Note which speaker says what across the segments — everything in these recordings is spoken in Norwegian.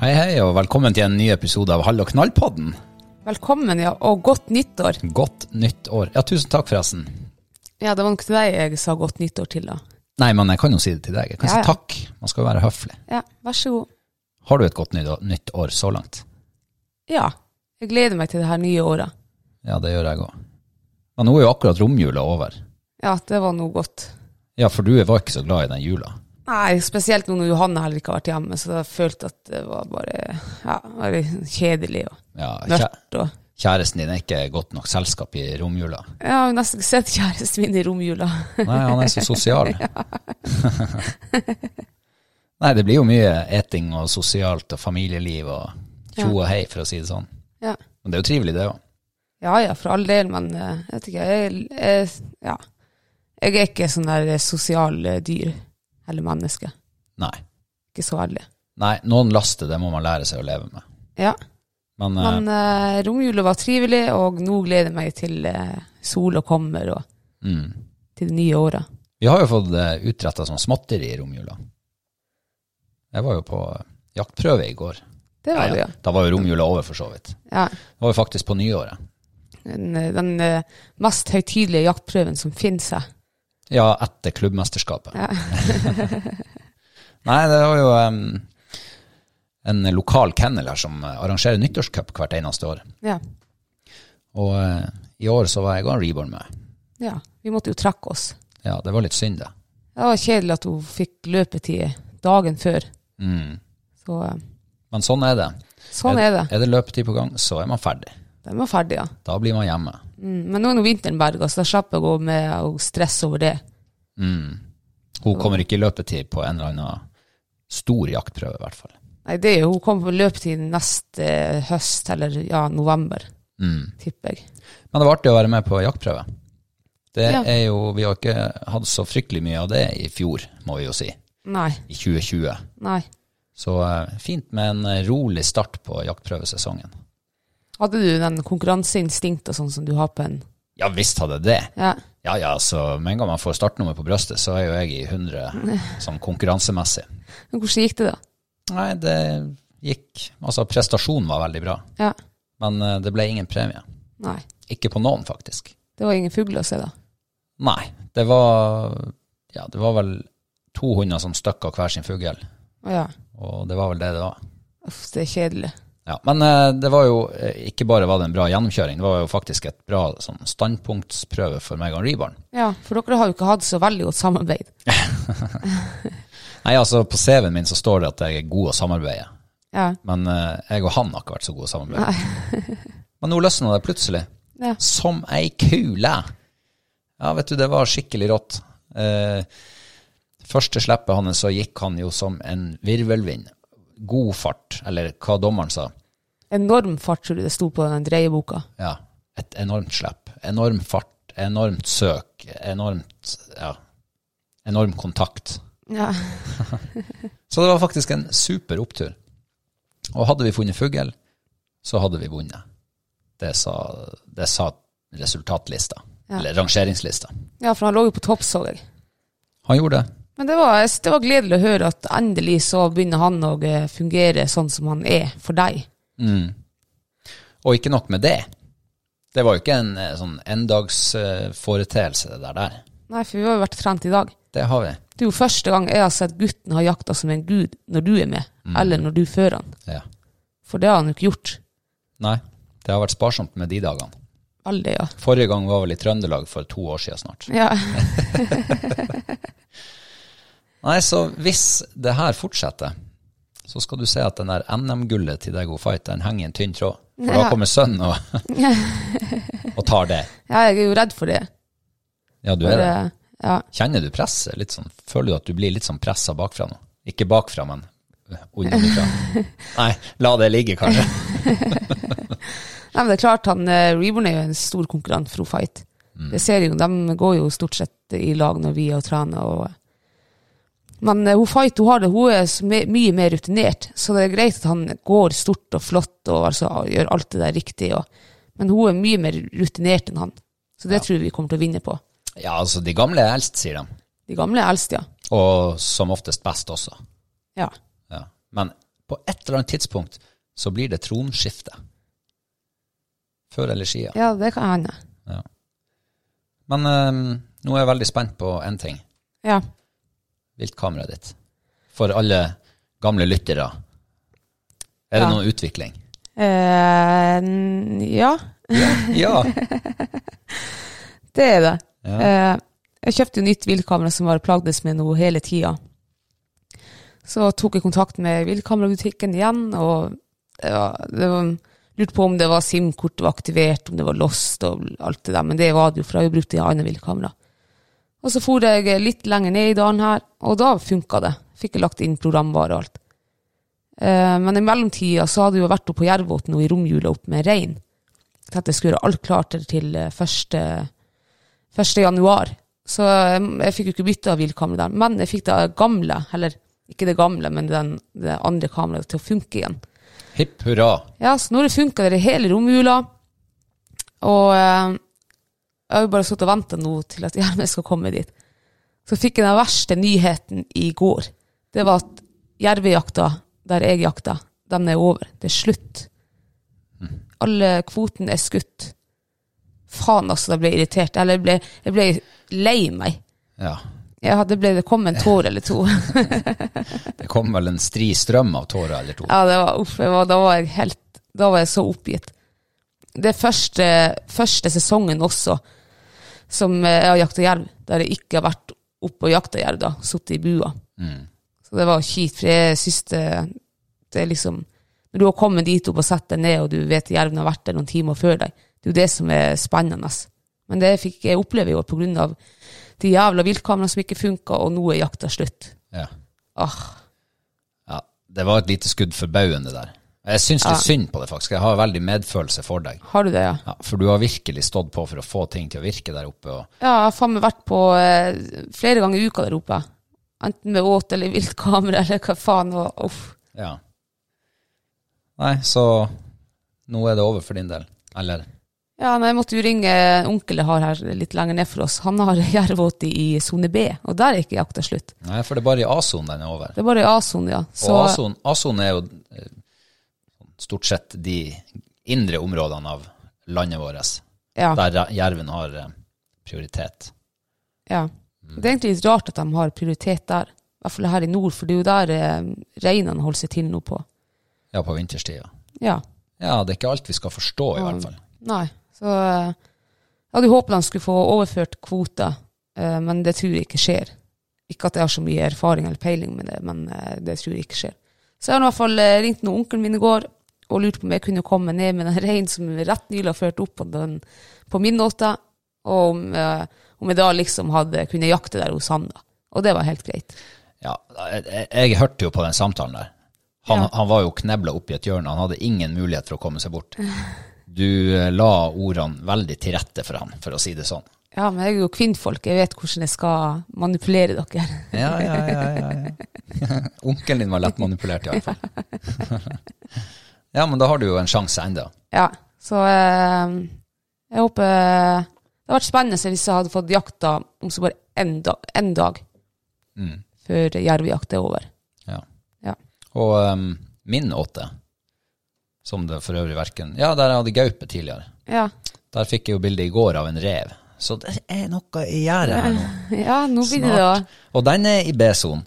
Speaker 1: Hei, hei, og velkommen til en ny episode av Hall og knall-podden.
Speaker 2: Velkommen, ja, og godt nyttår.
Speaker 1: Godt nytt år. Ja, tusen takk, forresten.
Speaker 2: Ja, det var nok til deg jeg sa godt nyttår til, da.
Speaker 1: Nei, men jeg kan jo si det til deg. Jeg kan
Speaker 2: Ja, ja.
Speaker 1: si takk. Man skal jo være høflig.
Speaker 2: Ja, vær så god.
Speaker 1: Har du et godt nytt, nytt år så langt?
Speaker 2: Ja, jeg gleder meg til det her nye året.
Speaker 1: Ja, det gjør jeg òg. Men nå er jo akkurat romjula over.
Speaker 2: Ja, det var noe godt.
Speaker 1: Ja, for du var ikke så glad i den jula.
Speaker 2: Nei, spesielt nå når Johanne heller ikke har vært hjemme, så jeg følte at det var bare ja, bare kjedelig og
Speaker 1: Ja, kjæ-
Speaker 2: mørkt. Og,
Speaker 1: kjæresten din er ikke godt nok selskap i romjula.
Speaker 2: ja, jeg har nesten ikke sett kjæresten min i romjula.
Speaker 1: Nei, han er så sosial. Nei, det blir jo mye eting og sosialt og familieliv og tjo og hei, for å si det sånn.
Speaker 2: Ja.
Speaker 1: Men det er jo trivelig, det òg.
Speaker 2: ja ja, for all del, men eh, jeg vet ikke, jeg, jeg, ja. jeg er ikke sånn der sosial eh, dyr eller menneske.
Speaker 1: Nei.
Speaker 2: Ikke så ærlig.
Speaker 1: Nei, noen laster, det må man lære seg å leve med.
Speaker 2: Ja.
Speaker 1: Men,
Speaker 2: Men
Speaker 1: eh,
Speaker 2: eh, romjula var trivelig, og nå gleder jeg meg til eh, sola kommer, og
Speaker 1: mm.
Speaker 2: til det nye året.
Speaker 1: vi har jo fått uh, utretta sånn småtteri i romjula. Jeg var jo på eh, jaktprøve i går.
Speaker 2: Det var det,
Speaker 1: ja. Da var jo romjula over, for så vidt.
Speaker 2: ja. ja.
Speaker 1: Det var jo faktisk på nyåret.
Speaker 2: Den, eh, den eh, mest høytidelige jaktprøven som finnes her.
Speaker 1: Ja, etter klubbmesterskapet.
Speaker 2: Ja.
Speaker 1: Nei, det var jo em, en lokal kennel her som eh, arrangerer nyttårscup hvert eneste år.
Speaker 2: Ja.
Speaker 1: Og eh, i år så var jeg og Reborn med.
Speaker 2: ja. Vi måtte jo trekke oss.
Speaker 1: Ja, det var litt synd, det.
Speaker 2: Det var kjedelig at hun fikk løpetid dagen før.
Speaker 1: Mm.
Speaker 2: Så eh,
Speaker 1: Men sånn er det.
Speaker 2: sånn er det.
Speaker 1: Er det løpetid på gang, så er man ferdig.
Speaker 2: Den var ferdig, ja.
Speaker 1: Da blir man hjemme.
Speaker 2: Mm. Men nå er nå vinteren berga, så da slapp jeg å gå med og stresse over det.
Speaker 1: Mm. Hun kommer ikke i løpetid på en eller annen stor jaktprøve, i hvert fall.
Speaker 2: Nei, det er jo, Hun kommer på løpetid neste eh, høst, eller ja, november,
Speaker 1: Mm.
Speaker 2: tipper jeg.
Speaker 1: Men det var artig å være med på jaktprøve. Det
Speaker 2: Ja.
Speaker 1: er jo, Vi har ikke hatt så fryktelig mye av det i fjor, må vi jo si.
Speaker 2: Nei.
Speaker 1: I 2020.
Speaker 2: Nei.
Speaker 1: Så eh, fint med en eh, rolig start på jaktprøvesesongen.
Speaker 2: Hadde du den konkurranseinstinktet sånn som du har på en
Speaker 1: Ja visst hadde jeg det.
Speaker 2: Ja,
Speaker 1: Ja ja, så med en gang man får startnummer på brøstet, så er jo jeg i 100 sånn konkurransemessig.
Speaker 2: men hvordan gikk det da?
Speaker 1: Nei, det gikk Altså, prestasjonen var veldig bra,
Speaker 2: Ja,
Speaker 1: men eh, det ble ingen premie.
Speaker 2: nei.
Speaker 1: Ikke på noen, faktisk.
Speaker 2: Det var ingen fugler å se da.
Speaker 1: Nei, det var Ja, det var vel to hunder som stakk av hver sin fugl,
Speaker 2: Å ja,
Speaker 1: og det var vel det det var.
Speaker 2: uff, det er kjedelig.
Speaker 1: Ja, men eh, det var jo eh, ikke bare var det en bra gjennomkjøring, det var jo faktisk et bra sånn, standpunktsprøve for meg og Reborn.
Speaker 2: Ja, for dere har jo ikke hatt så veldig godt samarbeid.
Speaker 1: Nei, altså på CV-en min så står det at jeg er god å samarbeide,
Speaker 2: Ja.
Speaker 1: men eh, jeg og han har ikke vært så gode å samarbeide. men nå løsna det plutselig.
Speaker 2: Ja.
Speaker 1: Som ei kule! Ja, vet du, det var skikkelig rått. Eh, første slippet hans, så gikk han jo som en virvelvind. God fart, eller hva dommeren sa.
Speaker 2: Enorm fart, tror du det sto på den dreieboka.
Speaker 1: Ja. Et enormt slipp. Enorm fart. Enormt søk. Enormt Ja. Enorm kontakt.
Speaker 2: Ja.
Speaker 1: Så det var faktisk en super opptur. Og hadde vi funnet fugl, så hadde vi vunnet. Det sa, det sa resultatlista.
Speaker 2: Ja.
Speaker 1: Eller rangeringslista.
Speaker 2: ja, for han lå jo på topp, så jeg.
Speaker 1: Han gjorde det.
Speaker 2: Men det var, det var gledelig å høre at endelig så begynner han å eh, fungere sånn som han er for deg.
Speaker 1: Mm. Og ikke nok med det. Det var jo ikke en eh, sånn endagsforeteelse, det der, der.
Speaker 2: Nei, for vi har jo vært trent i dag.
Speaker 1: Det har vi.
Speaker 2: Det er jo første gang jeg har sett gutten ha jakta som en gud når du er med, eller når du fører han.
Speaker 1: Ja.
Speaker 2: For det har han jo ikke gjort.
Speaker 1: Nei, det har vært sparsomt med de dagene.
Speaker 2: Veldig, ja.
Speaker 1: Forrige gang var vel i Trøndelag for to år siden snart.
Speaker 2: ja.
Speaker 1: Nei, så hvis det her fortsetter, så skal du se at den der NM-gullet til Dego Fight, den henger i en tynn tråd. For da
Speaker 2: Ja.
Speaker 1: kommer sønnen og, og tar det.
Speaker 2: ja, jeg er jo redd for det.
Speaker 1: Ja, du
Speaker 2: For,
Speaker 1: er det.
Speaker 2: eh, ja.
Speaker 1: Kjenner du presset? Litt sånn, føler du at du blir litt sånn pressa bakfra nå? Ikke bakfra, men eh, underfra. Nei, la det ligge, kanskje.
Speaker 2: Nei, men det er klart han eh, Reborn er jo en stor konkurrent for Fight.
Speaker 1: Mm.
Speaker 2: Det ser jeg jo, de går jo stort sett i lag når vi er og trener. Og, men eh, hun Fight hun har det, hun er så my mye mer rutinert, så det er greit at han går stort og flott og altså, gjør alt det der riktig. Og, men hun er mye mer rutinert enn han, så det tror jeg vi kommer til å vinne på.
Speaker 1: Ja, altså, de gamle er eldst, sier de.
Speaker 2: De gamle er eldst, ja.
Speaker 1: Og som oftest best også.
Speaker 2: ja.
Speaker 1: Ja. Men på et eller annet tidspunkt så blir det tronskifte. Før eller siden.
Speaker 2: Ja, det kan hende.
Speaker 1: Men eh, nå er jeg veldig spent på én ting.
Speaker 2: Ja.
Speaker 1: Viltkameraet ditt. For alle gamle lyttere. Er det
Speaker 2: Ja.
Speaker 1: noen utvikling?
Speaker 2: Eh, n- ja,
Speaker 1: Ja.
Speaker 2: det er det. Eh, jeg kjøpte jo nytt viltkamera som var plagdes med noe hele tida. Så tok jeg kontakt med viltkamerabutikken igjen, og ja, det var, lurte på om det var SIM-kortet var aktivert, om det var lost og alt det der, men det var det jo, for jeg har jo brukt det i andre viltkamera. Og så for jeg litt lenger ned i dalen her, og da funka det. Fikk jeg lagt inn programvare og alt. Eh, men i mellomtida så hadde jeg jo vært oppe på Jervåten og i romjula opp med rein. Til at jeg skulle gjøre alt klart til- til eh, første, første januar. Så jeg, jeg fikk jo ikke bytta hvilkamera der. Men jeg fikk det gamle, eller ikke det gamle, men den, det andre kameraet til å funke igjen.
Speaker 1: Hipp hurra.
Speaker 2: Ja, så nå har det funka det hele romjula. Og eh, jeg har jo bare sittet og venta nå til at Gjermund skal komme dit. Så fikk jeg den verste nyheten i går. Det var at jervejakta, der jeg jakta, den er over. Det er slutt. Alle kvotene er skutt. Faen, altså, da ble jeg irritert. Eller jeg ble, jeg ble lei meg.
Speaker 1: Ja.
Speaker 2: Jeg hadde ble, det kom en tåre eller to.
Speaker 1: Det kom vel en stri strøm av tårer eller to.
Speaker 2: Ja, det var, uff, jeg var, da, var jeg helt, da var jeg så oppgitt. Det er første, første sesongen også som eh, jeg har jakta jerv, der jeg ikke har vært oppe og jakta jerv, da, sittet i bua. Så det var kjipt, for jeg syns det, det er liksom Når du har kommet dit opp og satt deg ned, og du vet jerven har vært der noen timer før deg, det er jo det som er spennende. Men det fikk jeg oppleve i år pga. de jævla viltkameraene som ikke funka, og nå er jakta slutt.
Speaker 1: Ja.
Speaker 2: Åh,
Speaker 1: ja. Det var et lite skudd for baugen, det der. Jeg syns litt synd på det, faktisk. Jeg har veldig medfølelse for deg.
Speaker 2: har du det, ja?
Speaker 1: Ja, for du har virkelig stått på for å få ting til å virke der oppe. Og
Speaker 2: Ja, jeg har faen meg vært på eh, flere ganger i uka der oppe. Enten med åt eller viltkamera eller hva faen. Og, uff.
Speaker 1: Ja. Nei, så nå er det over for din del. Eller
Speaker 2: Ja, nei, jeg måtte jo ringe en onkel jeg har her litt lenger ned for oss. Han har jervåte i sone B, og der er ikke jakta slutt.
Speaker 1: Nei, for det er bare i A-sonen den er over.
Speaker 2: Det er bare i A-sone, ja. Så,
Speaker 1: Og A-sonen- A-sonen er jo eh, stort sett de indre områdene av landet vårt,
Speaker 2: ja,
Speaker 1: der re- jerven har eh, prioritet.
Speaker 2: ja.
Speaker 1: Mm.
Speaker 2: Det er egentlig litt rart at de har prioritet der. I hvert fall her i nord, for det er jo der eh, reinene holder seg til nå på.
Speaker 1: Ja, på vinterstida.
Speaker 2: Ja.
Speaker 1: Ja, det er ikke alt vi skal forstå, i
Speaker 2: Mm.
Speaker 1: hvert fall.
Speaker 2: Nei. Så eh, jeg hadde jo håpet han skulle få overført kvoter, eh, men det tror jeg ikke skjer. Ikke at jeg har så mye erfaring eller peiling med det, men eh, det tror jeg ikke skjer. Så jeg har i hvert fall eh, ringt noen onkelen min i går og lurt på om jeg kunne komme ned med den reinen som vi rett nylig har ført opp på, den, på min åte, og om, eh, om jeg da liksom hadde kunne jakte der hos han, da. Og det var helt greit.
Speaker 1: Ja, jeg, jeg, jeg hørte jo på den samtalen der. Han,
Speaker 2: Ja.
Speaker 1: han var jo knebla opp i et hjørne. Han hadde ingen mulighet for å komme seg bort. Du eh, la ordene veldig til rette for han, for å si det sånn.
Speaker 2: Ja, men jeg er jo kvinnfolk, jeg vet hvordan jeg skal manipulere dere.
Speaker 1: Ja, ja, ja. ja, ja. Onkelen din var lett manipulert, i hvert fall. ja, men da har du jo en sjanse enda.
Speaker 2: Ja, så eh, jeg håper Det hadde vært spennende hvis jeg hadde fått jakta om så bare én dag, en dag
Speaker 1: Mm.
Speaker 2: før jervjakt er over.
Speaker 1: Ja.
Speaker 2: Ja.
Speaker 1: Og ehm, min åte, som det for øvrig verken Ja, der jeg hadde gaupe tidligere.
Speaker 2: Ja,
Speaker 1: Der fikk jeg jo bilde i går av en rev. Så det er noe i gjerdet her nå.
Speaker 2: ja nå blir det da
Speaker 1: Snart. Og den er i B-sonen,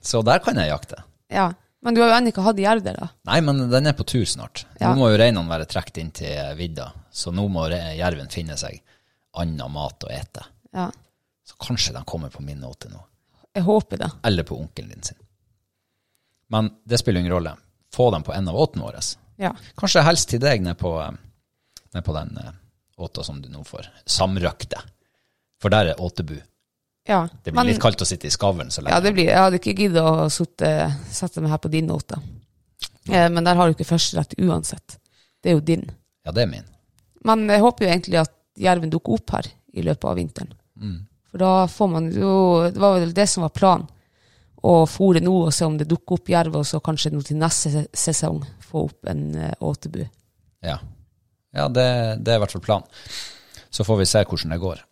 Speaker 1: så der kan jeg jakte.
Speaker 2: ja. Men du har jo ennå ikke hatt jerv der, da.
Speaker 1: Nei, men den er på tur snart.
Speaker 2: Ja.
Speaker 1: Nå må jo reinene være trukket inn til vidda, så nå må re- jerven finne seg annen mat å ete.
Speaker 2: Ja.
Speaker 1: Så kanskje de kommer på min åte nå.
Speaker 2: Jeg håper det.
Speaker 1: Eller på onkelen din sin. Men det spiller ingen rolle. Få dem på en av åtene våre.
Speaker 2: Ja.
Speaker 1: Kanskje helst til deg ned på, eh, ned på den eh, åta som du nå får. Samrøkte. For der er åtebu.
Speaker 2: ja.
Speaker 1: Det blir
Speaker 2: Men-
Speaker 1: litt kaldt å sitte i skavlen så lenge.
Speaker 2: Ja, det blir, jeg hadde ikke giddet å sitte, sette meg her på din note. Eh, men der har du ikke førsterett uansett. Det er jo din.
Speaker 1: Ja, det er min.
Speaker 2: Men jeg eh, håper jo egentlig at jerven dukker opp her i løpet av vinteren. For da får man jo Det var vel det som var planen. Å fòre nå og se om det dukker opp jerv, og så kanskje nå til neste se- sesong få opp en eh, åtebu.
Speaker 1: Ja, ja det, det er i hvert fall planen. Så får vi se hvordan det går.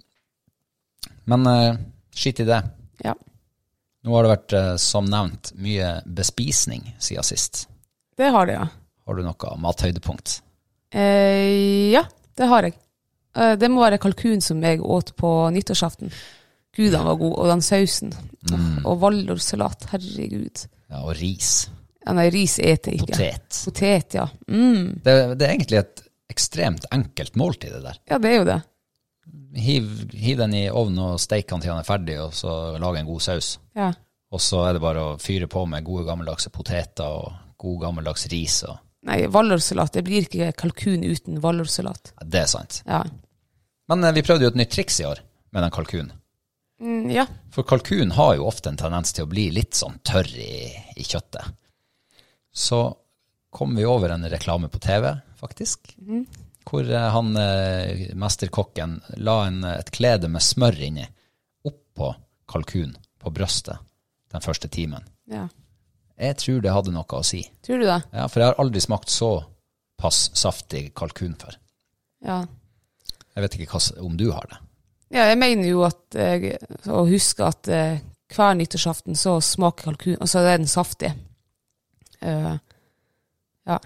Speaker 1: Men eh, skit i det.
Speaker 2: Ja.
Speaker 1: Nå har det vært, eh, som nevnt, mye bespisning siden sist.
Speaker 2: Det har det, ja.
Speaker 1: Har du noe mathøydepunkt?
Speaker 2: Eh, ja, det har jeg. Eh, det må være kalkun som jeg åt på nyttårsaften. Gud, den var god. Og den sausen. Åh, Og valdorsalat. Herregud.
Speaker 1: Ja, og ris.
Speaker 2: Ja, nei, ris eter jeg ikke.
Speaker 1: Potet.
Speaker 2: Potet, ja. Mm.
Speaker 1: Det, det er egentlig et ekstremt enkelt måltid, det der.
Speaker 2: Ja, det er jo det.
Speaker 1: Hiv, hiv den i ovnen og steik den til den er ferdig, og så lag en god saus.
Speaker 2: Ja.
Speaker 1: Og så er det bare å fyre på med gode gammeldagse poteter og god gammeldags ris. Og,
Speaker 2: Nei, valdorsalat. Det blir ikke kalkun uten valdorsalat.
Speaker 1: ja, det er sant.
Speaker 2: Ja.
Speaker 1: Men eh, vi prøvde jo et nytt triks i år med den kalkunen.
Speaker 2: Mm, ja.
Speaker 1: For kalkun har jo ofte en tendens til å bli litt sånn tørr i, i kjøttet. Så kom vi over en reklame på TV, faktisk, hvor eh, han, eh, mesterkokken la en, eh, et klede med smør inni oppå kalkun på brøstet den første timen.
Speaker 2: ja.
Speaker 1: Jeg tror det hadde noe å si.
Speaker 2: Tror du det?
Speaker 1: Ja, for jeg har aldri smakt så pass saftig kalkun før.
Speaker 2: Ja.
Speaker 1: Jeg vet ikke hva, om du har det.
Speaker 2: ja. Jeg mener jo at jeg Å huske at eh, hver nyttårsaften så smaker kalkun Altså, det er den saftig. Eh, ja.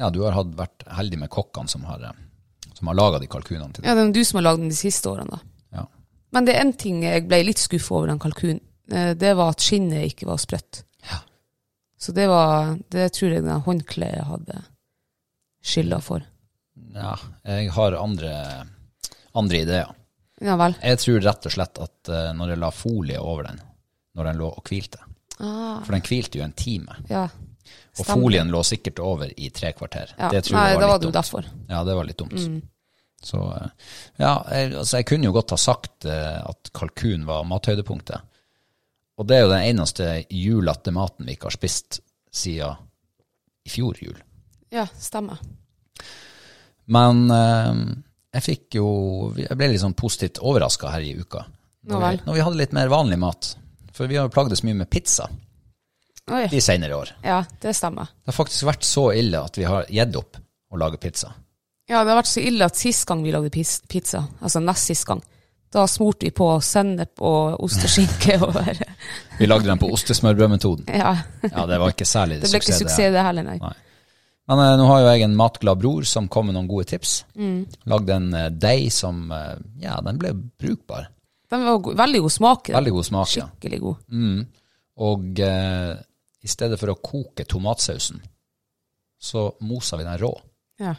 Speaker 1: Ja, du har hatt, vært heldig med kokkene som har, eh, som har laga de kalkunene til deg.
Speaker 2: ja, det er du som har lagd den de siste årene, da.
Speaker 1: Ja.
Speaker 2: Men det er én ting jeg ble litt skuffa over den kalkunen. Eh, Det var at skinnet ikke var sprøtt.
Speaker 1: Ja.
Speaker 2: Så det var Det tror jeg den håndkleet hadde skylda for.
Speaker 1: Ja, jeg har andre, andre ideer.
Speaker 2: Ja vel.
Speaker 1: Jeg tror rett og slett at eh, når jeg la folie over den, når den lå og hvilte
Speaker 2: Ah,
Speaker 1: For den hvilte jo en time,
Speaker 2: ja.
Speaker 1: og
Speaker 2: Stemmer.
Speaker 1: folien lå sikkert over i tre kvarter.
Speaker 2: Ja.
Speaker 1: Det tror
Speaker 2: Nei,
Speaker 1: jeg
Speaker 2: da Mm.
Speaker 1: var
Speaker 2: var
Speaker 1: litt
Speaker 2: det jo
Speaker 1: dumt.
Speaker 2: derfor.
Speaker 1: Ja, det var litt dumt. Så eh, ja, jeg, altså jeg kunne jo godt ha sagt eh, at kalkun var mathøydepunktet. Og det er jo den eneste julete maten vi ikke har spist siden i fjor jul.
Speaker 2: Ja, stemmer.
Speaker 1: Men eh, jeg fikk jo Jeg ble litt sånn positivt overraska her i uka.
Speaker 2: Nå
Speaker 1: Når vi,
Speaker 2: vel.
Speaker 1: når vi hadde litt mer vanlig mat. For vi har jo plagdes mye med pizza
Speaker 2: Oi.
Speaker 1: de senere år.
Speaker 2: Ja, det stemmer.
Speaker 1: Det har faktisk vært så ille at vi har gitt opp å lage pizza.
Speaker 2: Ja, det har vært så ille at sist gang vi lagde pis- pizza, altså nest sist gang, da smurte vi på sennep og ost og skinke over.
Speaker 1: Vi lagde den på ostesmørbrødmetoden.
Speaker 2: Ja,
Speaker 1: Ja, det var ikke særlig
Speaker 2: det ble ikke suksess det heller, nei.
Speaker 1: Nei. Men eh, nå har jo jeg en matglad bror som kom med noen gode tips.
Speaker 2: Mm.
Speaker 1: Lagde en eh, deig som eh, Ja, den ble brukbar.
Speaker 2: Den var go veldig god smak. i den.
Speaker 1: Veldig god smak, ja. Mm.
Speaker 2: Skikkelig god.
Speaker 1: Og eh, i stedet for å koke tomatsausen, så mosa vi den rå
Speaker 2: Ja.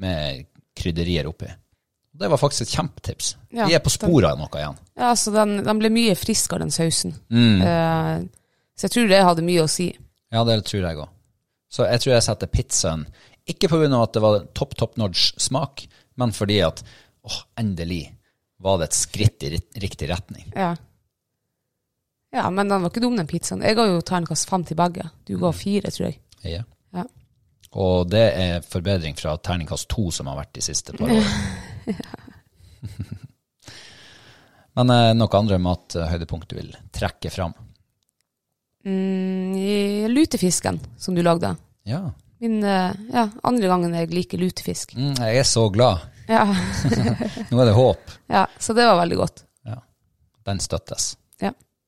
Speaker 1: med krydderier oppi. Det var faktisk et kjempetips.
Speaker 2: Ja,
Speaker 1: vi er på sporet av noe igjen.
Speaker 2: ja, så den, den ble mye friskere, den sausen.
Speaker 1: Mm.
Speaker 2: Eh, så jeg tror det hadde mye å si.
Speaker 1: Ja, det tror jeg òg. Så jeg tror jeg setter pizzaen ikke pga. at det var topp top notch smak, men fordi at åh, endelig var det et skritt i ri- riktig retning.
Speaker 2: Ja. ja, men den var ikke dum, den pizzaen. Jeg ga jo terningkast fem til begge. Du
Speaker 1: Mm.
Speaker 2: ga fire, tror jeg.
Speaker 1: Ja.
Speaker 2: Ja.
Speaker 1: Og det er forbedring fra terningkast to som har vært de siste par årene. Men eh, noe andre mathøydepunkt du vil trekke fram?
Speaker 2: Mm, i lutefisken som du lagde.
Speaker 1: Ja.
Speaker 2: Min eh, ja, andre gangen jeg liker lutefisk.
Speaker 1: Mm, jeg er så glad.
Speaker 2: Ja.
Speaker 1: Nå er det håp.
Speaker 2: ja, så det var veldig godt.
Speaker 1: Ja. Den støttes.
Speaker 2: Ja.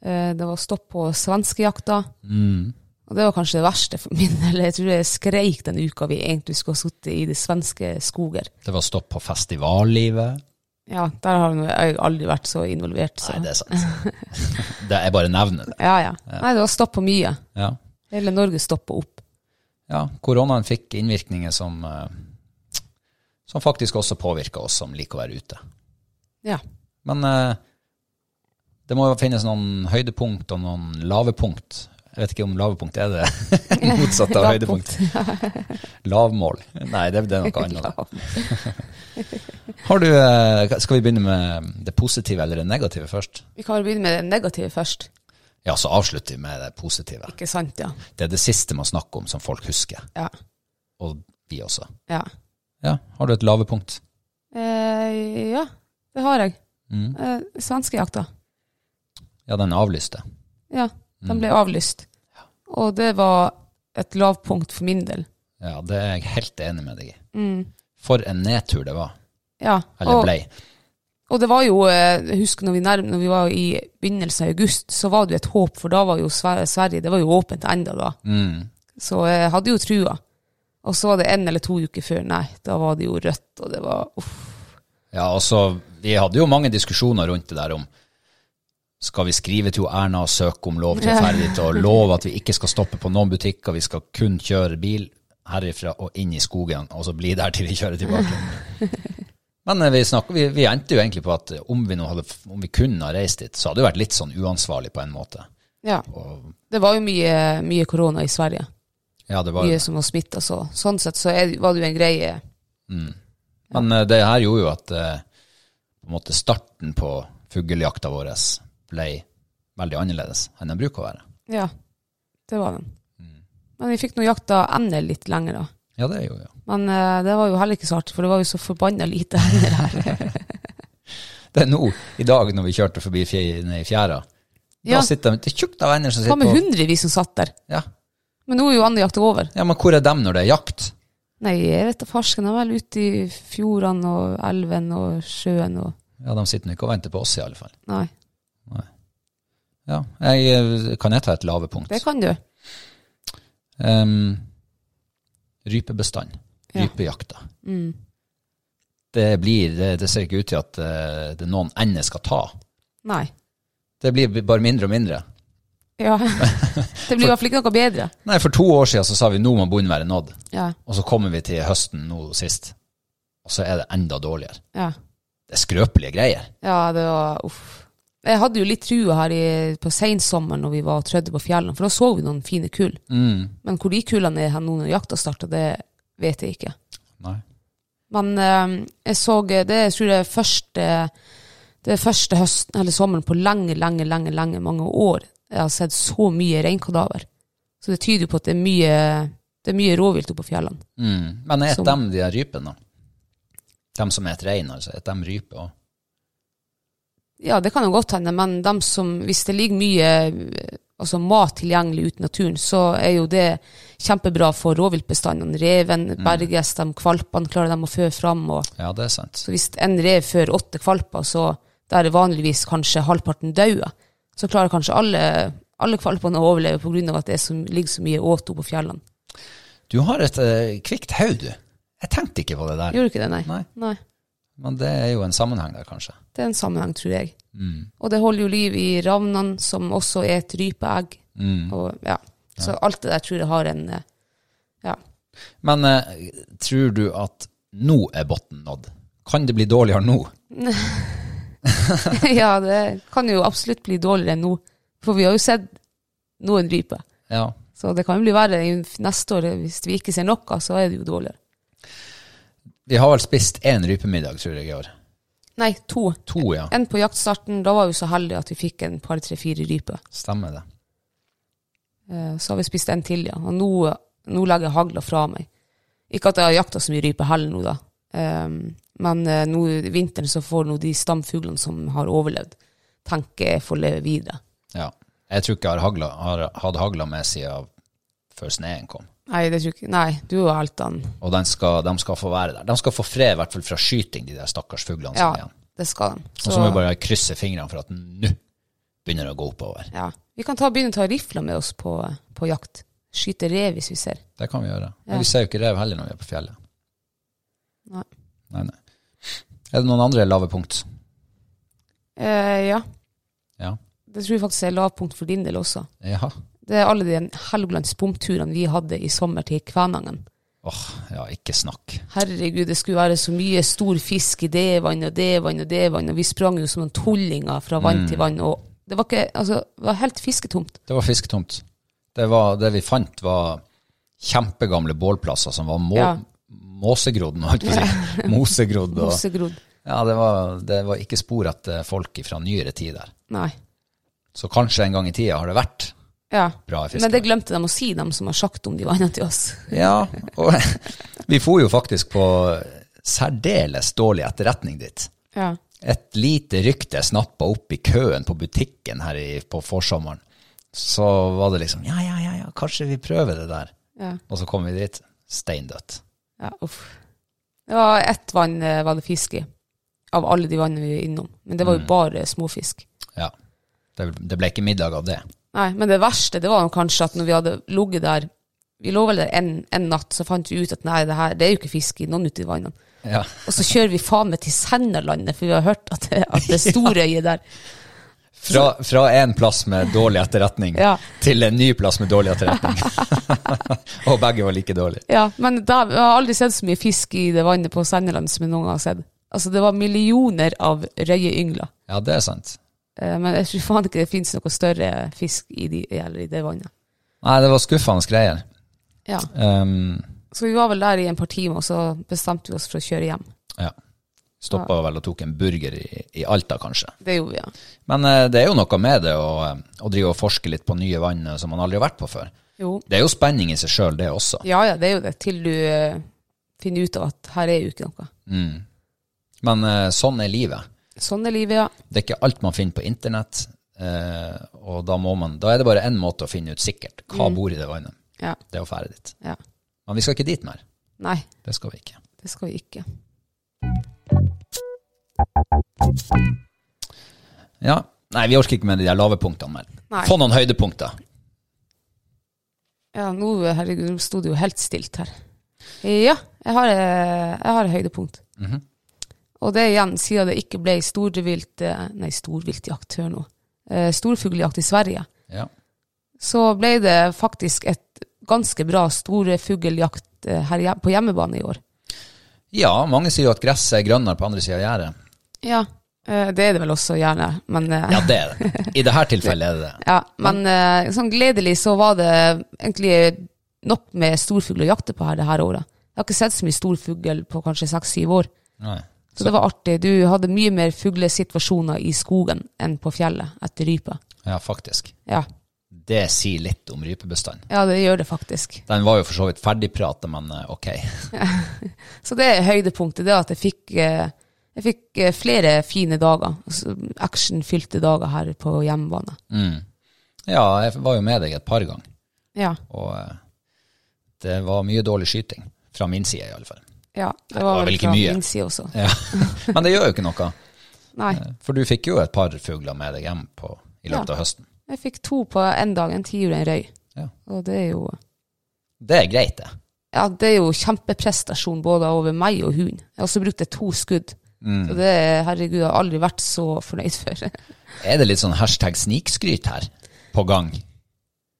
Speaker 2: Eh, det var stopp på svenskejakta.
Speaker 1: Mm.
Speaker 2: Og det var kanskje det verste for min del. Jeg tror jeg skreik den uka vi egentlig skulle ha sittet i de svenske skoger.
Speaker 1: Det var stopp på festivallivet.
Speaker 2: Ja, der har nå jeg aldri vært så involvert. Så.
Speaker 1: Nei, det er sant. det er bare nevner det.
Speaker 2: Ja, ja. Nei, det var stopp på mye.
Speaker 1: Ja.
Speaker 2: Hele Norge stoppa opp.
Speaker 1: ja, koronaen fikk innvirkninger som, eh, som faktisk også påvirker oss som liker å være ute.
Speaker 2: Ja.
Speaker 1: Men eh, det må jo finnes noen høydepunkt og noen lave punkt. Jeg vet ikke om lave punkt er det motsatte av høydepunkt. Lavmål. Nei, det, det er noe annet. Har du, eh, skal vi begynne med det positive eller det negative først?
Speaker 2: Vi kan vel begynne med det negative først.
Speaker 1: Ja, så avslutter vi med det positive.
Speaker 2: Ikke sant, ja.
Speaker 1: Det er det siste man snakker om som folk husker,
Speaker 2: Ja.
Speaker 1: og vi også.
Speaker 2: Ja,
Speaker 1: Ja, har du et lavepunkt?
Speaker 2: eh, ja det har jeg.
Speaker 1: Mm.
Speaker 2: Eh, Svenskejakta.
Speaker 1: Ja, den avlyste.
Speaker 2: Ja,
Speaker 1: Mm.
Speaker 2: den ble avlyst. Og det var et lavpunkt for min del.
Speaker 1: Mm. Ja, det er jeg helt enig med deg i.
Speaker 2: Mm.
Speaker 1: For en nedtur det var,
Speaker 2: Ja.
Speaker 1: eller
Speaker 2: og-
Speaker 1: blei.
Speaker 2: Og det var jo, eh, jeg husker når vi, nærm, når vi var i begynnelsen av august, så var det jo et håp, for da var jo Sver Sverige det var jo åpent enda da.
Speaker 1: Mm.
Speaker 2: Så jeg hadde jo trua. Og så var det en eller to uker før, nei, da var det jo rødt, og det var uff.
Speaker 1: Ja, altså, vi hadde jo mange diskusjoner rundt det der om skal vi skrive til Erna og søke om lov til å ferde dit, og love at vi ikke skal stoppe på noen butikker, vi skal kun kjøre bil herifra og inn i skogen, og så bli der til vi kjører tilbake. Men eh, vi, snakk- vi, vi endte jo egentlig på at eh, om vi, nå hadde, om vi kunne ha reist dit, så hadde det vært litt sånn uansvarlig på en måte.
Speaker 2: Ja,
Speaker 1: Og,
Speaker 2: det var jo mye, mye korona i Sverige.
Speaker 1: ja, det var,
Speaker 2: Mye som var smitta, så sånn sett så er, var det jo en greie.
Speaker 1: men eh, det her gjorde jo at eh, på en måte starten på fuglejakta vår ble veldig annerledes enn den bruker å være.
Speaker 2: Ja, det var den.
Speaker 1: Mm.
Speaker 2: Men vi fikk nå jakta ender litt lenger da.
Speaker 1: Ja, det gjorde jeg.
Speaker 2: Men eh, det var jo heller ikke så artig, for det var jo så forbanna lite ender her.
Speaker 1: Det er nå, i dag, når vi kjørte forbi fje- ned i fjæra. Da
Speaker 2: Ja.
Speaker 1: sitter de, Det er tjukt av venner som
Speaker 2: Hva
Speaker 1: sitter
Speaker 2: med
Speaker 1: på
Speaker 2: hundrevis som satt der?
Speaker 1: ja.
Speaker 2: Men nå er jo andejakta over.
Speaker 1: ja, men hvor er dem når det er jakt?
Speaker 2: Nei, jeg vet da farsken. De er vel ute i fjordene og elven og sjøen og
Speaker 1: Ja, De sitter nå ikke og venter på oss, i alle fall.
Speaker 2: Nei,
Speaker 1: Ja, jeg, eh, Kan jeg ta et lavepunkt?
Speaker 2: det kan du.
Speaker 1: Ehm, rypebestand.
Speaker 2: Ja.
Speaker 1: Rypejakta.
Speaker 2: Mm.
Speaker 1: Det, blir, det, det ser ikke ut til at eh, det er noen ender skal ta.
Speaker 2: Nei.
Speaker 1: Det blir bare mindre og mindre.
Speaker 2: Ja. Det blir i hvert fall ikke noe bedre.
Speaker 1: Nei, For to år siden så sa vi nå må bunnen være nådd.
Speaker 2: Ja.
Speaker 1: Og så kommer vi til høsten nå sist, og så er det enda dårligere.
Speaker 2: Ja,
Speaker 1: Det er skrøpelige greier.
Speaker 2: ja det var Uff. Jeg hadde jo litt trua her i, på seinsommeren når vi var og trødde på fjellene, for da så vi noen fine kull.
Speaker 1: Mm.
Speaker 2: Men hvor de kullene er hen nå når jakta starter, det vet jeg ikke.
Speaker 1: Nei.
Speaker 2: Men eh, jeg så eh, det jeg tror det er første det er første høsten eller sommeren på lenge, lenge, lenge, lenge mange år jeg har sett så mye reinkadaver. Så det tyder jo på at det er mye det er mye rovvilt oppe på fjellene.
Speaker 1: Mm. Men et
Speaker 2: Som-
Speaker 1: dem de her rypene? Dem som et rein, altså? Et dem rype òg?
Speaker 2: Ja, det kan jo godt hende, men dem som, hvis det ligger mye eh, altså mat tilgjengelig ute i naturen, så er jo det kjempebra for rovviltbestandene. Reven, berges, de kvalpene klarer de å fø fram. Og,
Speaker 1: Ja, det er sant.
Speaker 2: så hvis en rev fører åtte kvalper, så der er vanligvis kanskje halvparten dauer, så klarer kanskje alle, alle kvalpene å overleve pga. at det er så, ligger så mye åte oppe på fjellene.
Speaker 1: Du har et eh, kvikt hode, du. Jeg tenkte ikke på det der.
Speaker 2: Gjorde du ikke det, nei?
Speaker 1: Nei.
Speaker 2: nei.
Speaker 1: Men det er jo en sammenheng der, kanskje.
Speaker 2: Det er en sammenheng, tror jeg. Og det holder jo liv i ravnene, som også er et rypeegg.
Speaker 1: Mm.
Speaker 2: Og, ja. Så alt det der tror jeg har en eh, Ja.
Speaker 1: Men eh, tror du at nå er bunnen nådd? Kan det bli dårligere nå?
Speaker 2: ja, det kan jo absolutt bli dårligere enn nå. For vi har jo sett noen ryper.
Speaker 1: Ja.
Speaker 2: Så det kan jo bli verre i neste år. Hvis vi ikke ser noe, så er det jo dårligere.
Speaker 1: Vi har vel spist én rypemiddag, tror jeg, i år.
Speaker 2: Nei, to.
Speaker 1: To, ja.
Speaker 2: En på jaktstarten. Da var vi så heldige at vi fikk en par, tre, fire ryper.
Speaker 1: Stemmer det.
Speaker 2: Eh, Så har vi spist en til, ja. Og nå, nå legger jeg hagla fra meg. Ikke at jeg har jakta så mye rype heller nå, da. Ehm, men eh, nå i vinteren så får nå de stamfuglene som har overlevd, tenker jeg får leve videre.
Speaker 1: Ja. Jeg tror ikke jeg har, hagla, har hatt hagla med siden før sneen kom.
Speaker 2: Nei, det tror jeg ikke. Nei, du har helt den.
Speaker 1: Og den skal, de skal få være der. De skal få fred, i hvert fall fra skyting, de der stakkars fuglene
Speaker 2: Ja,
Speaker 1: som er igjen.
Speaker 2: det skal de.
Speaker 1: Og så må vi bare krysse fingrene for at nå begynner det å gå oppover.
Speaker 2: ja. Vi kan ta, begynne å ta rifla med oss på, på jakt. Skyte rev hvis vi ser.
Speaker 1: Det kan vi gjøre.
Speaker 2: Ja.
Speaker 1: Men vi ser jo ikke rev heller når vi er på fjellet.
Speaker 2: Nei.
Speaker 1: Nei, nei. Er det noen andre lave punkt?
Speaker 2: Eh, ja,
Speaker 1: Ja.
Speaker 2: det tror jeg faktisk er lavpunkt for din del også.
Speaker 1: Jaha.
Speaker 2: Det er alle de Helgelandsbomturene vi hadde i sommer til Kvænangen.
Speaker 1: Åh, ja, ikke snakk.
Speaker 2: Herregud, det skulle være så mye stor fisk i det vann og det vann og det vann, og vi sprang jo som noen tullinger fra vann
Speaker 1: Mm.
Speaker 2: til vann, og det var, ikke, altså, det var helt fisketomt.
Speaker 1: Det var fisketomt. Det, var, det vi fant var kjempegamle bålplasser som var må,
Speaker 2: Ja.
Speaker 1: måsegrodd, må jeg ikke si. Mosegrodd. Og,
Speaker 2: Mosegrodd.
Speaker 1: ja, det var, det var ikke spor etter folk fra nyere tid der.
Speaker 2: Nei.
Speaker 1: Så kanskje en gang i tida har det vært
Speaker 2: Ja.
Speaker 1: bra fisk.
Speaker 2: Men det glemte de å si, de som har sagt om de vannene til oss.
Speaker 1: Ja, og vi for jo faktisk på særdeles dårlig etterretning dit.
Speaker 2: Ja.
Speaker 1: Et lite rykte snappa opp i køen på butikken her i, på forsommeren. Så var det liksom ja, ja, ja, ja, kanskje vi prøver det der.
Speaker 2: Ja.
Speaker 1: Og så kom vi dit. Steindødt.
Speaker 2: ja uff. Det var ett vann eh, var det fisk i, av alle de vannene vi var innom. Men det var jo
Speaker 1: Mm.
Speaker 2: bare småfisk.
Speaker 1: Ja. Det, det ble ikke middag av det.
Speaker 2: Nei, men det verste det var jo kanskje at når vi hadde ligget der Vi lå vel der en, en natt, så fant vi ut at nei, det her det er jo ikke fisk i noen ute i vannene.
Speaker 1: Ja.
Speaker 2: Og så kjører vi faen meg til Sennalandet, for vi har hørt at det, at det er storøye der.
Speaker 1: Fra, fra en plass med dårlig etterretning
Speaker 2: Ja.
Speaker 1: til en ny plass med dårlig etterretning. og begge var like dårlige.
Speaker 2: Ja, men der, jeg har aldri sett så mye fisk i det vannet på Sennaland som jeg noen gang har sett. Altså, det var millioner av røyeyngler.
Speaker 1: Ja, det er sant.
Speaker 2: Eh, Men jeg tror faen ikke det finnes noe større fisk i, de, eller i det vannet.
Speaker 1: Nei, det var skuffende greier.
Speaker 2: Ja,
Speaker 1: Um,
Speaker 2: Så vi var vel der i en par timer, og så bestemte vi oss for å kjøre hjem.
Speaker 1: Ja. Stoppa vel og tok en burger i, i Alta, kanskje.
Speaker 2: Det gjorde vi, ja.
Speaker 1: Men eh, det er jo noe med det å, eh, å drive og forske litt på nye vann eh, som man aldri har vært på før.
Speaker 2: Jo.
Speaker 1: Det er jo spenning i seg sjøl, det også.
Speaker 2: Ja, ja, det er jo det. Til du eh, finner ut av at her er jo ikke noe.
Speaker 1: Men eh, sånn er livet.
Speaker 2: Sånn er livet, ja.
Speaker 1: Det er ikke alt man finner på internett. eh, og da, må man, da er det bare én måte å finne ut sikkert hva
Speaker 2: Mm.
Speaker 1: bor i det vannet.
Speaker 2: Ja,
Speaker 1: Det er å fære dit.
Speaker 2: ja.
Speaker 1: Men vi skal ikke dit mer.
Speaker 2: Nei,
Speaker 1: Det skal vi ikke.
Speaker 2: det skal vi ikke.
Speaker 1: Ja. Nei, vi orker ikke med de der lave punktene mer.
Speaker 2: Nei.
Speaker 1: Få noen høydepunkter.
Speaker 2: Ja, nå herregud, nå sto det jo helt stilt her. Ja, jeg har, eh, jeg har høydepunkt. Og det er igjen, siden det ikke ble storvilt, eh, nei, storviltjakt, hør nå, eh, storfuglejakt i Sverige,
Speaker 1: Ja.
Speaker 2: så ble det faktisk et ganske bra storfugljakt eh, her hjem- på hjemmebane i år.
Speaker 1: ja, mange sier jo at gresset er grønnere på andre sida av gjerdet.
Speaker 2: Ja, eh, det er det vel også gjerne, men... eh,
Speaker 1: Ja, det er det. I dette tilfellet er det det.
Speaker 2: Ja, men eh, sånn gledelig så var det egentlig nok med storfugl å jakte på her det her året. Jeg har ikke sett så mye storfugl på kanskje seks-syv år.
Speaker 1: Nei.
Speaker 2: Så det var artig. Du hadde mye mer fuglesituasjoner i skogen enn på fjellet etter rype.
Speaker 1: Ja, faktisk.
Speaker 2: Ja.
Speaker 1: Det sier litt om rypebestanden.
Speaker 2: ja, det gjør det faktisk.
Speaker 1: Den var jo for så vidt ferdigprata, men eh, ok.
Speaker 2: Så det er høydepunktet, det at jeg fikk, eh, jeg fikk eh, flere fine dager. altså Actionfylte dager her på hjemmebane.
Speaker 1: Ja, jeg var jo med deg et par ganger,
Speaker 2: Ja.
Speaker 1: og eh, det var mye dårlig skyting. Fra min side, i alle fall.
Speaker 2: Ja, det
Speaker 1: var
Speaker 2: var
Speaker 1: vel
Speaker 2: vel
Speaker 1: ikke
Speaker 2: fra
Speaker 1: mye.
Speaker 2: min side også.
Speaker 1: Ja. Men det gjør jo ikke noe.
Speaker 2: Nei,
Speaker 1: For du fikk jo et par fugler med deg hjem på, i løpet
Speaker 2: Ja.
Speaker 1: av høsten.
Speaker 2: jeg fikk to på en dag, en tiur og en røy.
Speaker 1: Ja.
Speaker 2: Og det er jo
Speaker 1: Det er greit, det.
Speaker 2: ja, det er jo kjempeprestasjon både over meg og hunden. Jeg har også brukt det to skudd. Så det, herregud, jeg har aldri vært så fornøyd før.
Speaker 1: Er det litt sånn hashtag snikskryt her på gang?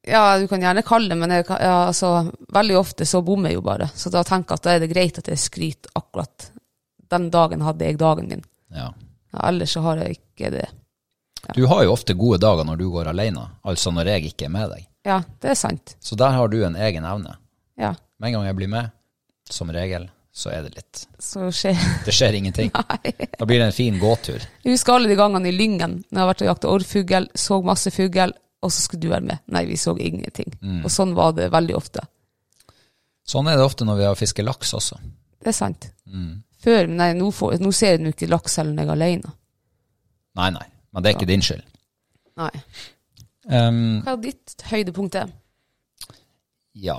Speaker 2: ja, du kan gjerne kalle det, men jeg kan, ja, altså, veldig ofte så bommer jeg jo bare. Så da tenker jeg at da er det greit at jeg skryter akkurat den dagen hadde jeg dagen min.
Speaker 1: Ja.
Speaker 2: Ja, ellers så har jeg ikke det.
Speaker 1: Du har jo ofte gode dager når du går alene, altså når jeg ikke er med deg.
Speaker 2: Ja, det er sant.
Speaker 1: Så der har du en egen evne.
Speaker 2: Ja,
Speaker 1: Med en gang jeg blir med, som regel, så er det litt
Speaker 2: så skjer
Speaker 1: Det skjer ingenting. Da blir det en fin gåtur.
Speaker 2: Jeg husker alle de gangene i Lyngen, når jeg har vært og jakta orrfugl, så masse fugl, og så skulle du være med. Nei, vi så ingenting. Og sånn var det veldig ofte.
Speaker 1: Sånn er det ofte når vi har fisket laks også.
Speaker 2: Det er sant. Før, men nei, nå, får, nå ser jeg nå ikke laks selv om jeg er alene.
Speaker 1: Nei, nei. Men det er ikke din skyld.
Speaker 2: Nei.
Speaker 1: Ehm,
Speaker 2: Hva er ditt høydepunkt? er?
Speaker 1: ja.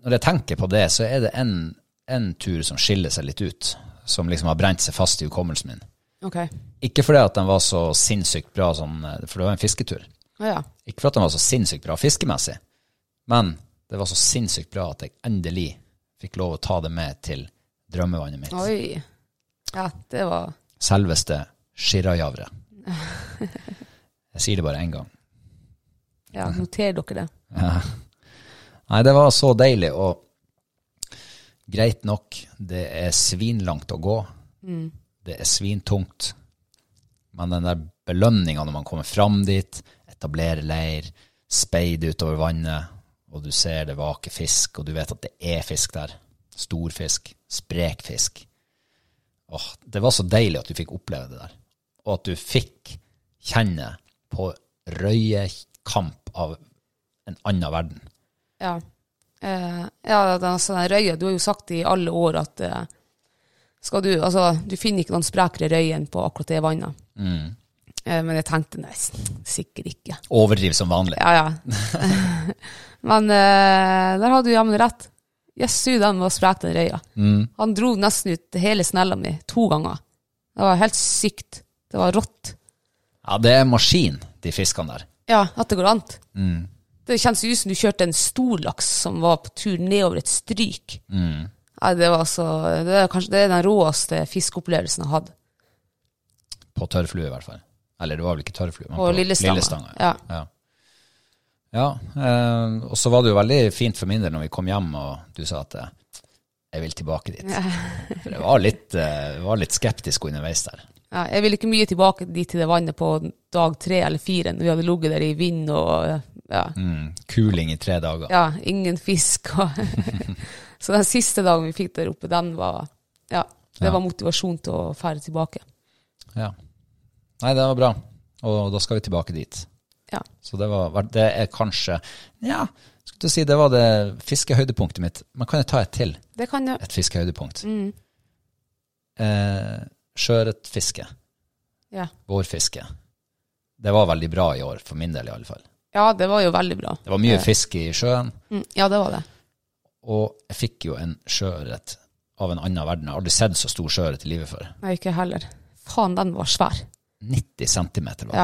Speaker 1: Når jeg tenker på det, så er det en, en tur som skiller seg litt ut. Som liksom har brent seg fast i hukommelsen min.
Speaker 2: Ok.
Speaker 1: Ikke fordi at den var så sinnssykt bra, sånn, eh, for det var en fisketur.
Speaker 2: Å ja.
Speaker 1: Ikke fordi at den var så sinnssykt bra fiskemessig, men det var så sinnssykt bra at jeg endelig fikk lov å ta det med til drømmevannet mitt.
Speaker 2: Oi. Ja, det var
Speaker 1: Selveste Shirajavre. Jeg sier det bare én gang.
Speaker 2: Ja, noter dere det.
Speaker 1: Ja. Nei, det var så deilig, og greit nok, det er svinlangt å gå. Det er svintungt. Men den der belønninga når man kommer fram dit, etablerer leir, speider utover vannet, og du ser det vaker fisk, og du vet at det er fisk der. Stor fisk, sprek fisk. Åh, det var så deilig at du fikk oppleve det der. Og at du fikk kjenne på røye kamp av en annen verden.
Speaker 2: Ja. Eh, ja, den, altså, den røya, du har jo sagt i alle år at eh, skal du Altså, du finner ikke noen sprekere røy enn på akkurat det vannet. Eh, men jeg tenkte nei, s- sikkert ikke.
Speaker 1: Overdriv som vanlig.
Speaker 2: Ja, ja. Men eh, der hadde du jammen rett. Jøssu, den var sprek, den røya. Han dro nesten ut hele snella mi to ganger. Det var helt sykt. Det var rått.
Speaker 1: Ja, det er maskin, de fiskene der.
Speaker 2: Ja, at det går an. Det kjennes ut som du kjørte en stor laks som var på tur nedover et stryk. Nei, det var så, det er kanskje det er den råeste fiskeopplevelsen jeg har hatt.
Speaker 1: På tørrflue, i hvert fall. Eller det var vel ikke tørrflue, men
Speaker 2: På lillestanga.
Speaker 1: ja. ja. Ja, eh, og så var det jo veldig fint for min del når vi kom hjem og du sa at eh, jeg vil tilbake dit. For jeg var litt, eh, var litt skeptisk underveis der.
Speaker 2: Ja, jeg ville ikke mye tilbake dit til det vannet på dag tre eller fire, når vi hadde ligget der i vind og ja,
Speaker 1: Mm, kuling i tre dager.
Speaker 2: ja, ingen fisk. Og så den siste dagen vi fikk der oppe, den var, ja, det
Speaker 1: Ja.
Speaker 2: var motivasjon til å fære tilbake.
Speaker 1: Ja. Nei, det var bra. Og da skal vi tilbake dit.
Speaker 2: Ja.
Speaker 1: Så det, var, det er kanskje Ja, skulle til å si det var det fiskehøydepunktet mitt. Men kan jeg ta et til?
Speaker 2: Det kan mm. jeg.
Speaker 1: et fiskehøydepunkt. Eh, Sjøørretfiske,
Speaker 2: Ja.
Speaker 1: vårfiske. Det var veldig bra i år, for min del i alle fall.
Speaker 2: ja, det var jo veldig bra.
Speaker 1: Det var mye fisk i sjøen,
Speaker 2: Mm, ja, det var det.
Speaker 1: og jeg fikk jo en sjøørret av en annen verden. Jeg har aldri sett så stor sjøørret i livet før.
Speaker 2: Nei, ikke heller. Faen, den var svær.
Speaker 1: 90 centimeter var den.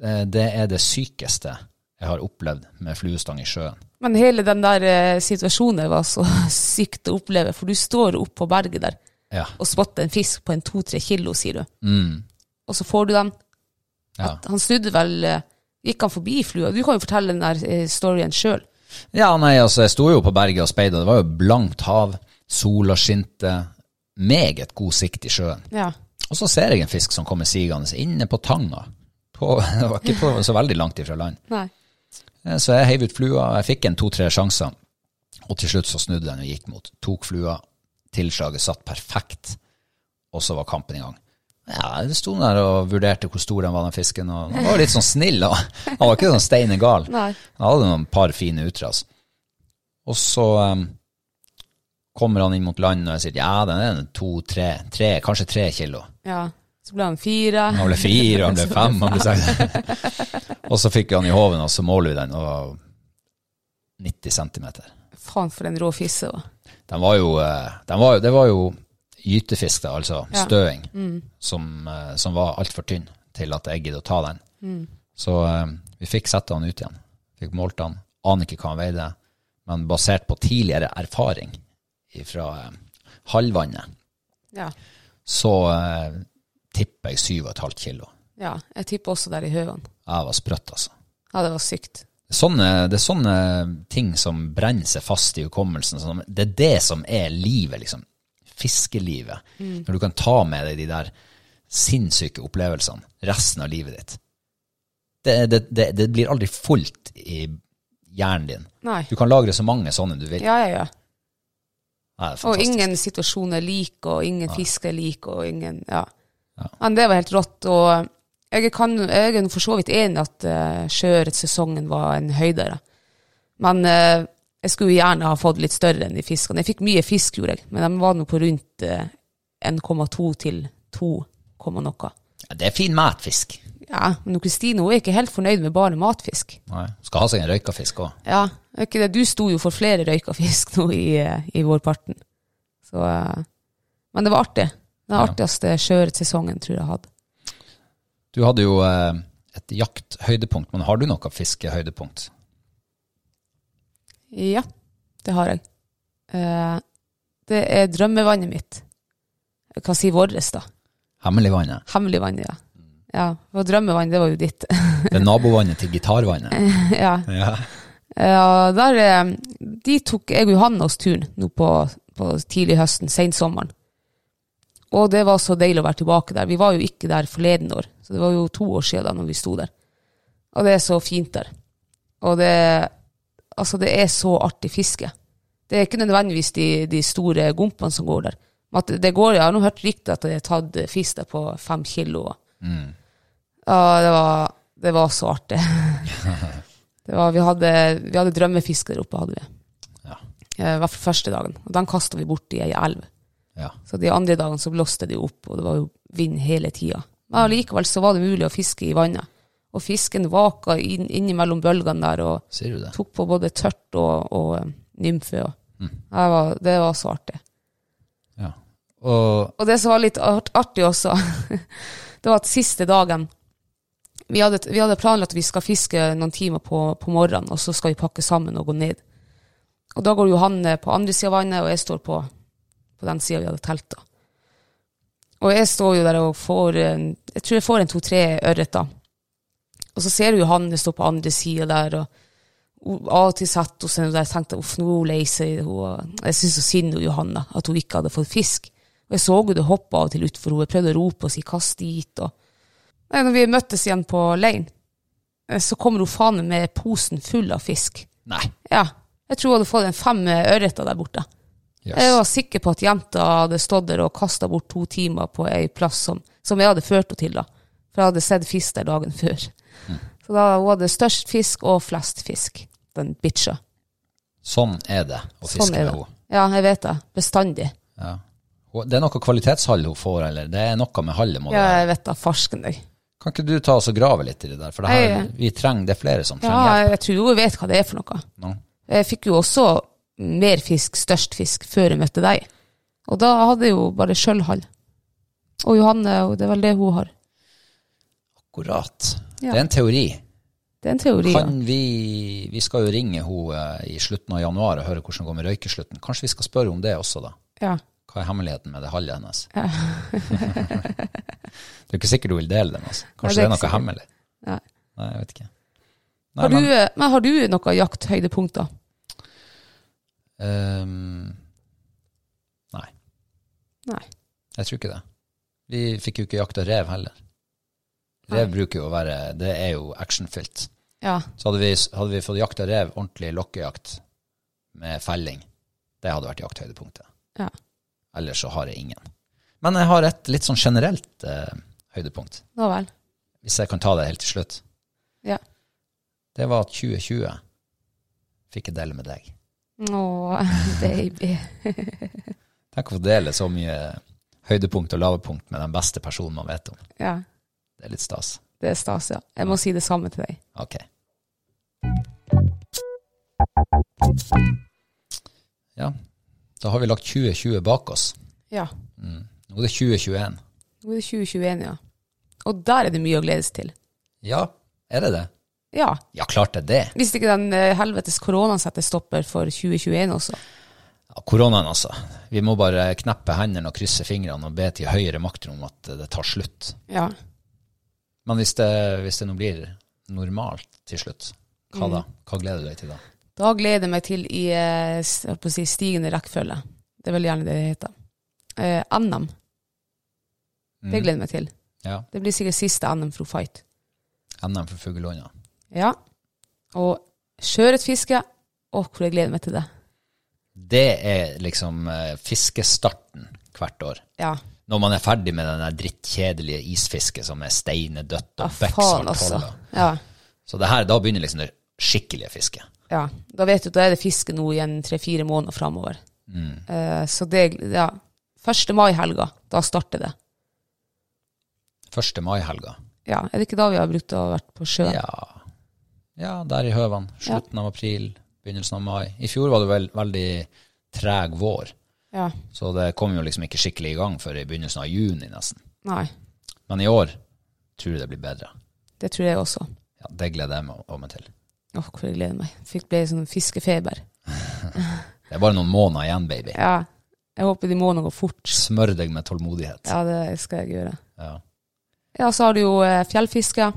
Speaker 2: Ja.
Speaker 1: Eh, Det er det sykeste jeg har opplevd med fluestang i sjøen.
Speaker 2: Men hele den der eh, situasjonen var så sykt å oppleve, for du står opp på berget der
Speaker 1: Ja,
Speaker 2: og spotter en fisk på en to-tre kilo, sier du.
Speaker 1: mm,
Speaker 2: Og så får du den.
Speaker 1: ja.
Speaker 2: Han snudde vel eh, Gikk han forbi flua? Du kan jo fortelle den der eh, storyen sjøl.
Speaker 1: Ja, nei, altså, jeg sto jo på berget og speida. Det var jo blankt hav. Sola skinte. Meget god sikt i sjøen.
Speaker 2: Ja.
Speaker 1: Og så ser jeg en fisk som kommer sigende inne på tanga. På, det var ikke på, så veldig langt ifra land.
Speaker 2: Nei.
Speaker 1: Eh, Så jeg heiv ut flua, jeg fikk en to-tre sjanser. Og til slutt så snudde den og gikk mot. Tok flua, tilslaget satt perfekt, og så var kampen i gang. Ja, jeg sto der og vurderte hvor stor den var, den fisken. Og han var jo litt sånn snill. Og, han var ikke sånn steinen gal.
Speaker 2: Nei.
Speaker 1: Han hadde noen par fine utras. Og så eh, kommer han inn mot land, og jeg sier ja, den er en to-tre, tre, kanskje tre kilo.
Speaker 2: Ja. Så ble han fire.
Speaker 1: Han ble fire, han ble fem, han ble seks. Og så fikk han i hoven, og så måler vi den, og 90 centimeter.
Speaker 2: faen for en rå fisse. da.
Speaker 1: Den var jo, eh, den var, jo- det var jo gytefisk, da, altså
Speaker 2: Ja.
Speaker 1: støing, som, eh, som var altfor tynn til at jeg gidder å ta den. Så eh, vi fikk sette han ut igjen. Fikk målt han. Aner ikke hva han veide, men basert på tidligere erfaring fra eh, halvvannet,
Speaker 2: Ja.
Speaker 1: så eh, tipper jeg 7,5 kilo.
Speaker 2: ja. Jeg tipper også der i høvene.
Speaker 1: Jeg var sprøtt, altså.
Speaker 2: Ja, det var sykt.
Speaker 1: Sånne, det er sånne ting som brenner seg fast i hukommelsen. Sånn, det er det som er livet, liksom. Fiskelivet.
Speaker 2: Mm.
Speaker 1: Når du kan ta med deg de der sinnssyke opplevelsene resten av livet ditt. Det, det, det, det blir aldri fullt i hjernen din.
Speaker 2: Nei.
Speaker 1: Du kan lagre så mange sånne du vil.
Speaker 2: Ja, ja, ja.
Speaker 1: Ja, det er
Speaker 2: Og
Speaker 1: fantastisk.
Speaker 2: ingen situasjon er lik, og ingen fisk er lik, og ingen Ja.
Speaker 1: Ja.
Speaker 2: Men det var helt rått. Og jeg, kan, jeg er for så vidt enig at uh, sjøørretsesongen var en høydere. Men eh, jeg skulle gjerne ha fått litt større enn de fiskene. Jeg fikk mye fisk, gjorde jeg, men de var nå på rundt eh, 1,2 til 2, komma noe.
Speaker 1: Ja, det er fin matfisk.
Speaker 2: Ja, men Kristine hun er ikke helt fornøyd med bare matfisk.
Speaker 1: Nei. Skal ha seg en røykafisk òg.
Speaker 2: Ja, er ikke det. Du sto jo for flere røyka fisk nå i, eh, i vårparten. Så, eh, men det var artig. Den
Speaker 1: Ja.
Speaker 2: artigste sjøørretsesongen tror jeg jeg hadde.
Speaker 1: Du hadde jo eh, et jakthøydepunkt, men har du noe fiskehøydepunkt?
Speaker 2: Ja, det har jeg. Eh, det er drømmevannet mitt. Jeg kan si vårt, da.
Speaker 1: Hemmeligvannet.
Speaker 2: Hemmeligvannet, ja. Ja, for drømmevann, det var jo ditt.
Speaker 1: Det er nabovannet til gitarvannet.
Speaker 2: ja.
Speaker 1: Ja.
Speaker 2: Ja, der, eh, de tok jeg og Johanne oss turen nå på, på tidlig høsten, sent sommeren. Og det var så deilig å være tilbake der. Vi var jo ikke der forleden år, så det var jo to år siden da når vi sto der. Og det er så fint der. Og det, altså det er så artig fiske. Det er ikke nødvendigvis de, de store gompene som går der. Men at det går, Jeg har nå hørt rykter at det er tatt fisk der på fem kilo. Ja, det var, det var så artig. Det var, vi, hadde, vi hadde drømmefisk der oppe, hadde vi.
Speaker 1: Ja.
Speaker 2: Eh, I hvert fall første dagen. Og den kasta vi bort i ei elv.
Speaker 1: Ja.
Speaker 2: Så de andre dagene så blåste det jo opp, og det var jo vind hele tida. Men allikevel så var det mulig å fiske i vannet. Og fisken vaka inn, innimellom bølgene der, og
Speaker 1: Sier du det?
Speaker 2: tok på både tørt og, og eh, nymfe. Og. Det, var, det var så artig.
Speaker 1: Ja. Og
Speaker 2: Og det som var litt art artig også, det var at siste dagen vi hadde, vi hadde planlagt at vi skal fiske noen timer på, på morgenen, og så skal vi pakke sammen og gå ned. Og da går Johanne på andre sida av vannet, og jeg står på, på den sida vi hadde telta. Og jeg står jo der og får en, Jeg tror jeg får en to-tre ørret, da. Og så ser du Johanne stå på andre sida der, og hun- av og til satt hun seg der og tenkte uff, nå er hun lei seg. hun, og Jeg syns så synd på Johanne, at hun ikke hadde fått fisk. Og jeg så henne det hoppe av og til utfor henne. Jeg prøvde å rope og si 'kast dit'. Og... Nei, når vi møttes igjen på leiren, eh, så kommer hun faen med posen full av fisk.
Speaker 1: Nei.
Speaker 2: Ja, jeg tror hun hadde fått en fem eh, ørreter der borte.
Speaker 1: Jøss.
Speaker 2: Jeg var sikker på at jenta hadde stått der og kasta bort to timer på ei plass som, som jeg hadde ført henne til, da. For jeg hadde sett fisk der dagen før. Så da hun hadde størst fisk og flest fisk, den bitcha.
Speaker 1: Sånn er det å fiske
Speaker 2: er
Speaker 1: med
Speaker 2: det.
Speaker 1: henne.
Speaker 2: Ja, jeg vet det. Bestandig.
Speaker 1: Ja. Hun- Det er noe kvalitetshall hun får, eller det er noe med hallet. må det
Speaker 2: Ja,
Speaker 1: være.
Speaker 2: jeg vet da, farsken deg.
Speaker 1: Kan ikke du ta oss og grave litt i det der, for det, her,
Speaker 2: Jeg-
Speaker 1: vi trenger, det er flere som
Speaker 2: Ja,
Speaker 1: trenger hjelp.
Speaker 2: jeg tror hun vet hva det er for noe.
Speaker 1: nå.
Speaker 2: Jeg fikk jo også mer fisk, størst fisk, før jeg møtte deg. Og da hadde jeg jo bare sjølhall. Og Johanne, og det er vel det hun har.
Speaker 1: Akkurat.
Speaker 2: Ja.
Speaker 1: Det er en teori.
Speaker 2: Det er en teori. ja.
Speaker 1: Kan vi, vi skal jo ringe henne i slutten av januar og høre hvordan det går med røykeslutten. Kanskje vi skal spørre om det også, da.
Speaker 2: Ja.
Speaker 1: Hva er hemmeligheten med det hallet hennes? det er ikke sikkert hun vil dele den. Altså. Kanskje det er,
Speaker 2: Nei, det er
Speaker 1: noe
Speaker 2: ikke
Speaker 1: hemmelig?
Speaker 2: Nei.
Speaker 1: Nei, jeg vet ikke. Nei,
Speaker 2: Har du, eh, men har du noen jakthøydepunkter?
Speaker 1: Ehm, nei,
Speaker 2: Nei.
Speaker 1: jeg tror ikke det. Vi fikk jo ikke jakta rev heller. Rev bruker jo å være Det er jo actionfylt.
Speaker 2: Ja.
Speaker 1: Så hadde vi, hadde vi fått jakta rev, ordentlig lokkejakt med felling, det hadde vært jakthøydepunktet.
Speaker 2: Ja.
Speaker 1: Ellers så har jeg ingen. Men jeg har et litt sånn generelt eh, høydepunkt,
Speaker 2: Nå vel.
Speaker 1: hvis jeg kan ta det helt til slutt.
Speaker 2: Ja.
Speaker 1: Det var at 2020 fikk jeg dele med deg.
Speaker 2: Å, baby.
Speaker 1: Tenk å få dele så mye høydepunkt og lavepunkt med den beste personen man vet om.
Speaker 2: Ja.
Speaker 1: Det er litt stas.
Speaker 2: Det er stas, ja. Jeg må si det samme til deg.
Speaker 1: Ok. Ja. Da har vi lagt 2020 bak oss.
Speaker 2: Ja.
Speaker 1: Nå er det 2021.
Speaker 2: Nå er det 2021, ja. Og der er det mye å glede seg til.
Speaker 1: Ja, er det det?
Speaker 2: Ja.
Speaker 1: Ja, klart det er det.
Speaker 2: Hvis ikke den eh, helvetes koronaen setter stopper for 2021 også.
Speaker 1: Ja, koronaen, altså. Vi må bare kneppe hendene og krysse fingrene og be til høyere makter om at det tar slutt.
Speaker 2: Ja.
Speaker 1: Men hvis det, hvis det nå blir normalt til slutt, hva da? Hva gleder du deg til da?
Speaker 2: Da gleder jeg meg til i eh, s- jeg holdt på å si, stigende rekkefølge. Det er vel gjerne det det heter. Eh, NM. Det gleder jeg meg til.
Speaker 1: Ja,
Speaker 2: Det blir sikkert siste NM for Fight.
Speaker 1: NM for fuglehånda.
Speaker 2: Ja. Og sjøørretfiske. Å, hvor jeg gleder meg til det.
Speaker 1: Det er liksom eh, fiskestarten hvert år.
Speaker 2: Ja.
Speaker 1: Når man er ferdig med den der drittkjedelige isfisket som er steinedødt
Speaker 2: Ja,
Speaker 1: og
Speaker 2: faen, altså.
Speaker 1: bekksaltholda.
Speaker 2: Ja.
Speaker 1: Så det her, da begynner liksom det skikkelige fisket.
Speaker 2: ja. Da vet du, da er det fiske nå igjen tre-fire måneder framover. Eh, så det Ja. 1. mai-helga, da starter det.
Speaker 1: 1. mai-helga.
Speaker 2: Ja, Er det ikke da vi har brukt å ha vært på sjøen?
Speaker 1: Ja. ja, der i høvene. Slutten av april, begynnelsen av mai. I fjor var det vel veldig treg vår,
Speaker 2: ja.
Speaker 1: så det kom jo liksom ikke skikkelig i gang før i begynnelsen av juni nesten.
Speaker 2: Nei.
Speaker 1: Men i år tror jeg det blir bedre.
Speaker 2: Det tror jeg også.
Speaker 1: Ja, det gleder jeg meg, meg til.
Speaker 2: Åh, hvor jeg gleder meg. Fikk ble sånn fiskefeber.
Speaker 1: Det er bare noen måneder igjen, baby.
Speaker 2: Ja. Jeg håper de månedene går fort.
Speaker 1: Smør deg med tålmodighet.
Speaker 2: Ja, det skal jeg gjøre.
Speaker 1: Ja.
Speaker 2: Ja, så har du jo eh, fjellfiske.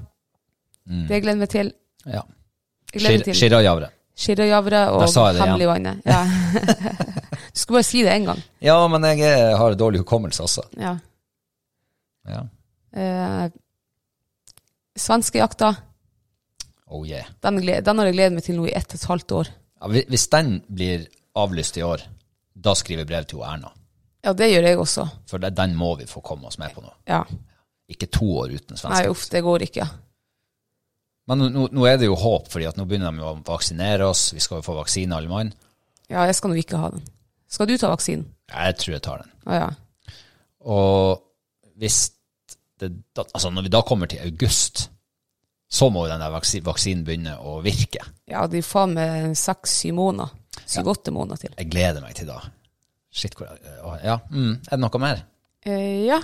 Speaker 2: Det gleder jeg meg til.
Speaker 1: Mm. ja.
Speaker 2: Jeg gleder meg
Speaker 1: Skir-
Speaker 2: til
Speaker 1: Skirrajavre.
Speaker 2: Skirrejavre og
Speaker 1: Der sa jeg det igjen.
Speaker 2: Hemmeligvannet. Ja. du skulle bare si det én gang.
Speaker 1: Ja, men jeg er- har dårlig hukommelse også.
Speaker 2: Ja.
Speaker 1: Ja.
Speaker 2: Eh, Svenskejakta.
Speaker 1: Oh yeah.
Speaker 2: Den, gled- den har jeg gledet meg til nå i ett og et halvt år.
Speaker 1: Ja, hvi- hvis den blir avlyst i år, da skriver jeg brev til hun Erna.
Speaker 2: Ja, det gjør jeg også.
Speaker 1: For det, den må vi få komme oss med på nå.
Speaker 2: Ja.
Speaker 1: Ikke to år uten
Speaker 2: Nei,
Speaker 1: svenske.
Speaker 2: uff, det går ikke.
Speaker 1: Men nå- nå, nå er det jo håp, fordi at nå begynner de jo å vaksinere oss. Vi skal jo få vaksine, alle mann.
Speaker 2: Ja, jeg skal nå ikke ha den. Skal du ta vaksinen?
Speaker 1: Jeg tror jeg tar den.
Speaker 2: Å ja.
Speaker 1: Og hvis det, da, altså når vi da kommer til august, så må jo den der vaksi, vaksinen begynne å virke.
Speaker 2: Ja, det er jo faen meg seks-syv måneder. Syv-åtte måneder til.
Speaker 1: Jeg gleder meg til da. Shit, hvor jeg, å, ja. Mm, er det noe mer?
Speaker 2: Eh, ja.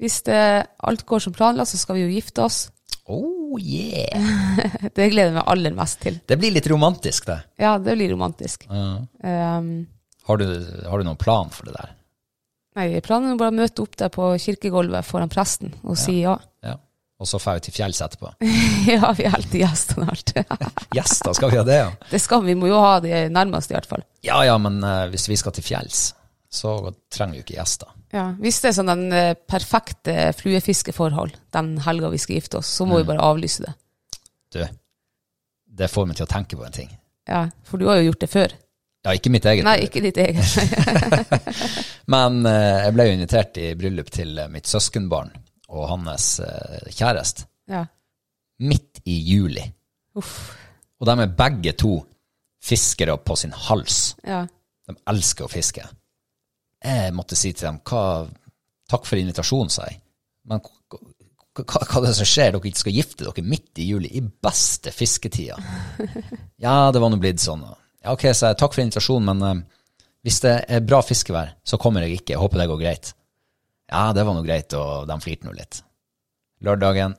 Speaker 2: Hvis det, alt går som planlagt, så skal vi jo gifte oss.
Speaker 1: Oh yeah!
Speaker 2: Det gleder jeg meg aller mest til.
Speaker 1: Det blir litt romantisk, det.
Speaker 2: Ja, det blir romantisk.
Speaker 1: Ja.
Speaker 2: Um,
Speaker 1: Har, du, har du noen plan for det der?
Speaker 2: nei, jeg planer jo bare å møte opp der på kirkegulvet foran presten og si ja.
Speaker 1: Ja. Og så drar vi til fjells etterpå.
Speaker 2: Ja, vi er helt i gjestene alt.
Speaker 1: Gjester, skal vi ha det, ja?
Speaker 2: Det skal vi, vi må jo ha det nærmeste i hvert fall.
Speaker 1: Ja ja, men eh, hvis vi skal til fjells, så trenger vi jo ikke gjester.
Speaker 2: Ja, hvis det er sånn den eh, perfekte fluefiskeforhold den helga vi skal gifte oss, så må vi bare avlyse det.
Speaker 1: Du, det får meg til å tenke på en ting.
Speaker 2: Ja, for du har jo gjort det før.
Speaker 1: Ja, ikke mitt eget.
Speaker 2: Nei, ikke ditt eget.
Speaker 1: Men eh, jeg ble jo invitert i bryllup til eh, mitt søskenbarn og hans eh, kjæreste
Speaker 2: Ja.
Speaker 1: midt i juli.
Speaker 2: Uff.
Speaker 1: Og de er begge to fiskere på sin hals.
Speaker 2: Ja.
Speaker 1: De elsker å fiske. Jeg måtte si til dem hva, takk for invitasjonen, sa jeg. Men k- k- hva, hva er det som skjer? Dere skal gifte dere midt i juli, i beste fisketida. Ja, det var nå blitt sånn. Ja, ok, sa jeg. Takk for invitasjonen, men eh, hvis det er bra fiskevær, så kommer jeg ikke. Jeg håper det går greit. Ja, det var nå greit, og de flirte nå litt. Lørdagen,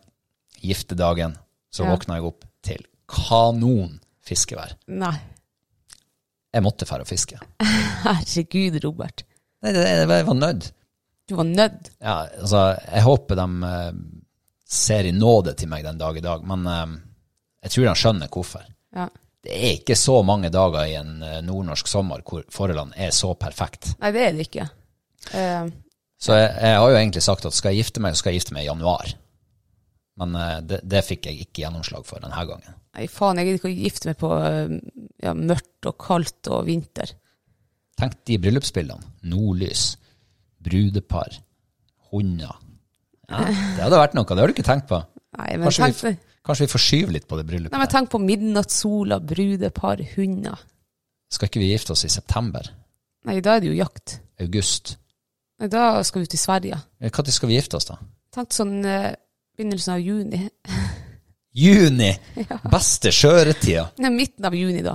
Speaker 1: giftedagen, så
Speaker 2: Ja.
Speaker 1: våkna jeg opp til kanon fiskevær.
Speaker 2: Nei.
Speaker 1: Jeg måtte fære og fiske.
Speaker 2: Herregud, Robert.
Speaker 1: Nei, det, det, jeg var nødt.
Speaker 2: Du var nødt.
Speaker 1: Ja, altså, jeg håper de eh, ser i nåde til meg den dag i dag, men eh, jeg tror de skjønner hvorfor.
Speaker 2: Ja.
Speaker 1: Det er ikke så mange dager i en eh, nordnorsk sommer hvor forholdene er så perfekt.
Speaker 2: Nei, det er det ikke. Eh,
Speaker 1: Så jeg, jeg har jo egentlig sagt at skal jeg gifte meg, så skal jeg gifte meg i januar. Men eh, det, det fikk jeg ikke gjennomslag for denne gangen.
Speaker 2: nei, faen, jeg gidder ikke å gifte meg på eh, ja, mørkt og kaldt og vinter.
Speaker 1: Tenk de bryllupsbildene. Nordlys, brudepar, hunder. Ja, det hadde vært noe, det har du ikke tenkt på.
Speaker 2: Nei, men
Speaker 1: Kanskje
Speaker 2: tenk,
Speaker 1: vi,
Speaker 2: nei,
Speaker 1: kanskje vi forskyver litt på det bryllupet.
Speaker 2: men tenk på midnattssola, brudepar, hunder.
Speaker 1: Skal ikke vi gifte oss i september?
Speaker 2: Nei, da er det jo jakt.
Speaker 1: August? Eh,
Speaker 2: Nei, da skal vi til Sverige.
Speaker 1: Når skal vi gifte oss, da?
Speaker 2: Tenk sånn eh, begynnelsen av juni.
Speaker 1: Juni! Beste skjøretida!
Speaker 2: Nei, midten av juni, da.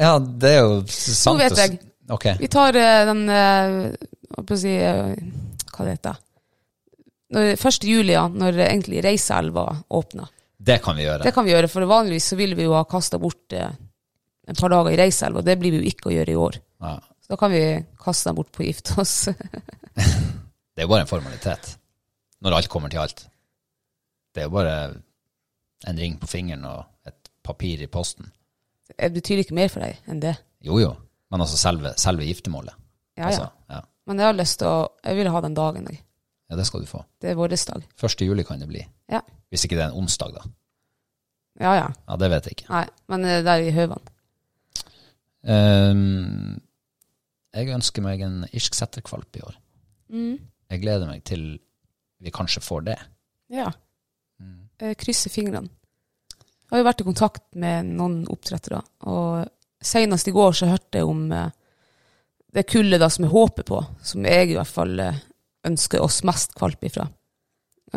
Speaker 1: Ja, det er jo sant.
Speaker 2: Nå vet
Speaker 1: å s-
Speaker 2: jeg.
Speaker 1: Ok.
Speaker 2: Vi tar eh, den eh, Hva skal jeg si eh, Hva det heter når, 1. juli, ja, når eh, egentlig Reiseelva åpner.
Speaker 1: Det kan vi gjøre.
Speaker 2: Det kan vi gjøre, for vanligvis så vil vi jo ha kasta bort eh, et par dager i Reiseelva. Det blir vi jo ikke å gjøre i år.
Speaker 1: Ja.
Speaker 2: Så da kan vi kaste dem bort på å gifte oss.
Speaker 1: Det er jo bare en formalitet. Når alt kommer til alt. Det er jo bare en ring på fingeren og et papir i posten.
Speaker 2: Det betyr ikke mer for deg enn det.
Speaker 1: Jo, jo. Men altså selve, selve giftermålet.
Speaker 2: Ja,
Speaker 1: Altså,
Speaker 2: ja.
Speaker 1: ja.
Speaker 2: Men jeg har lyst til å Jeg vil ha den dagen. jeg.
Speaker 1: ja, det skal du få.
Speaker 2: Det er vår dag.
Speaker 1: 1. juli kan det bli.
Speaker 2: Ja.
Speaker 1: Hvis ikke det er en onsdag, da.
Speaker 2: Ja, ja.
Speaker 1: Ja, det vet jeg ikke.
Speaker 2: Nei, men eh, der i Høvan.
Speaker 1: Ehm, jeg ønsker meg en irsk setterkvalp i år. Jeg gleder meg til vi kanskje får det.
Speaker 2: Ja. Eh, Krysse fingrene. Jeg har jo vært i kontakt med noen oppdrettere, og senest i går så hørte jeg om eh, det kullet da som jeg håper på, som jeg i hvert fall eh, ønsker oss mest kvalp ifra.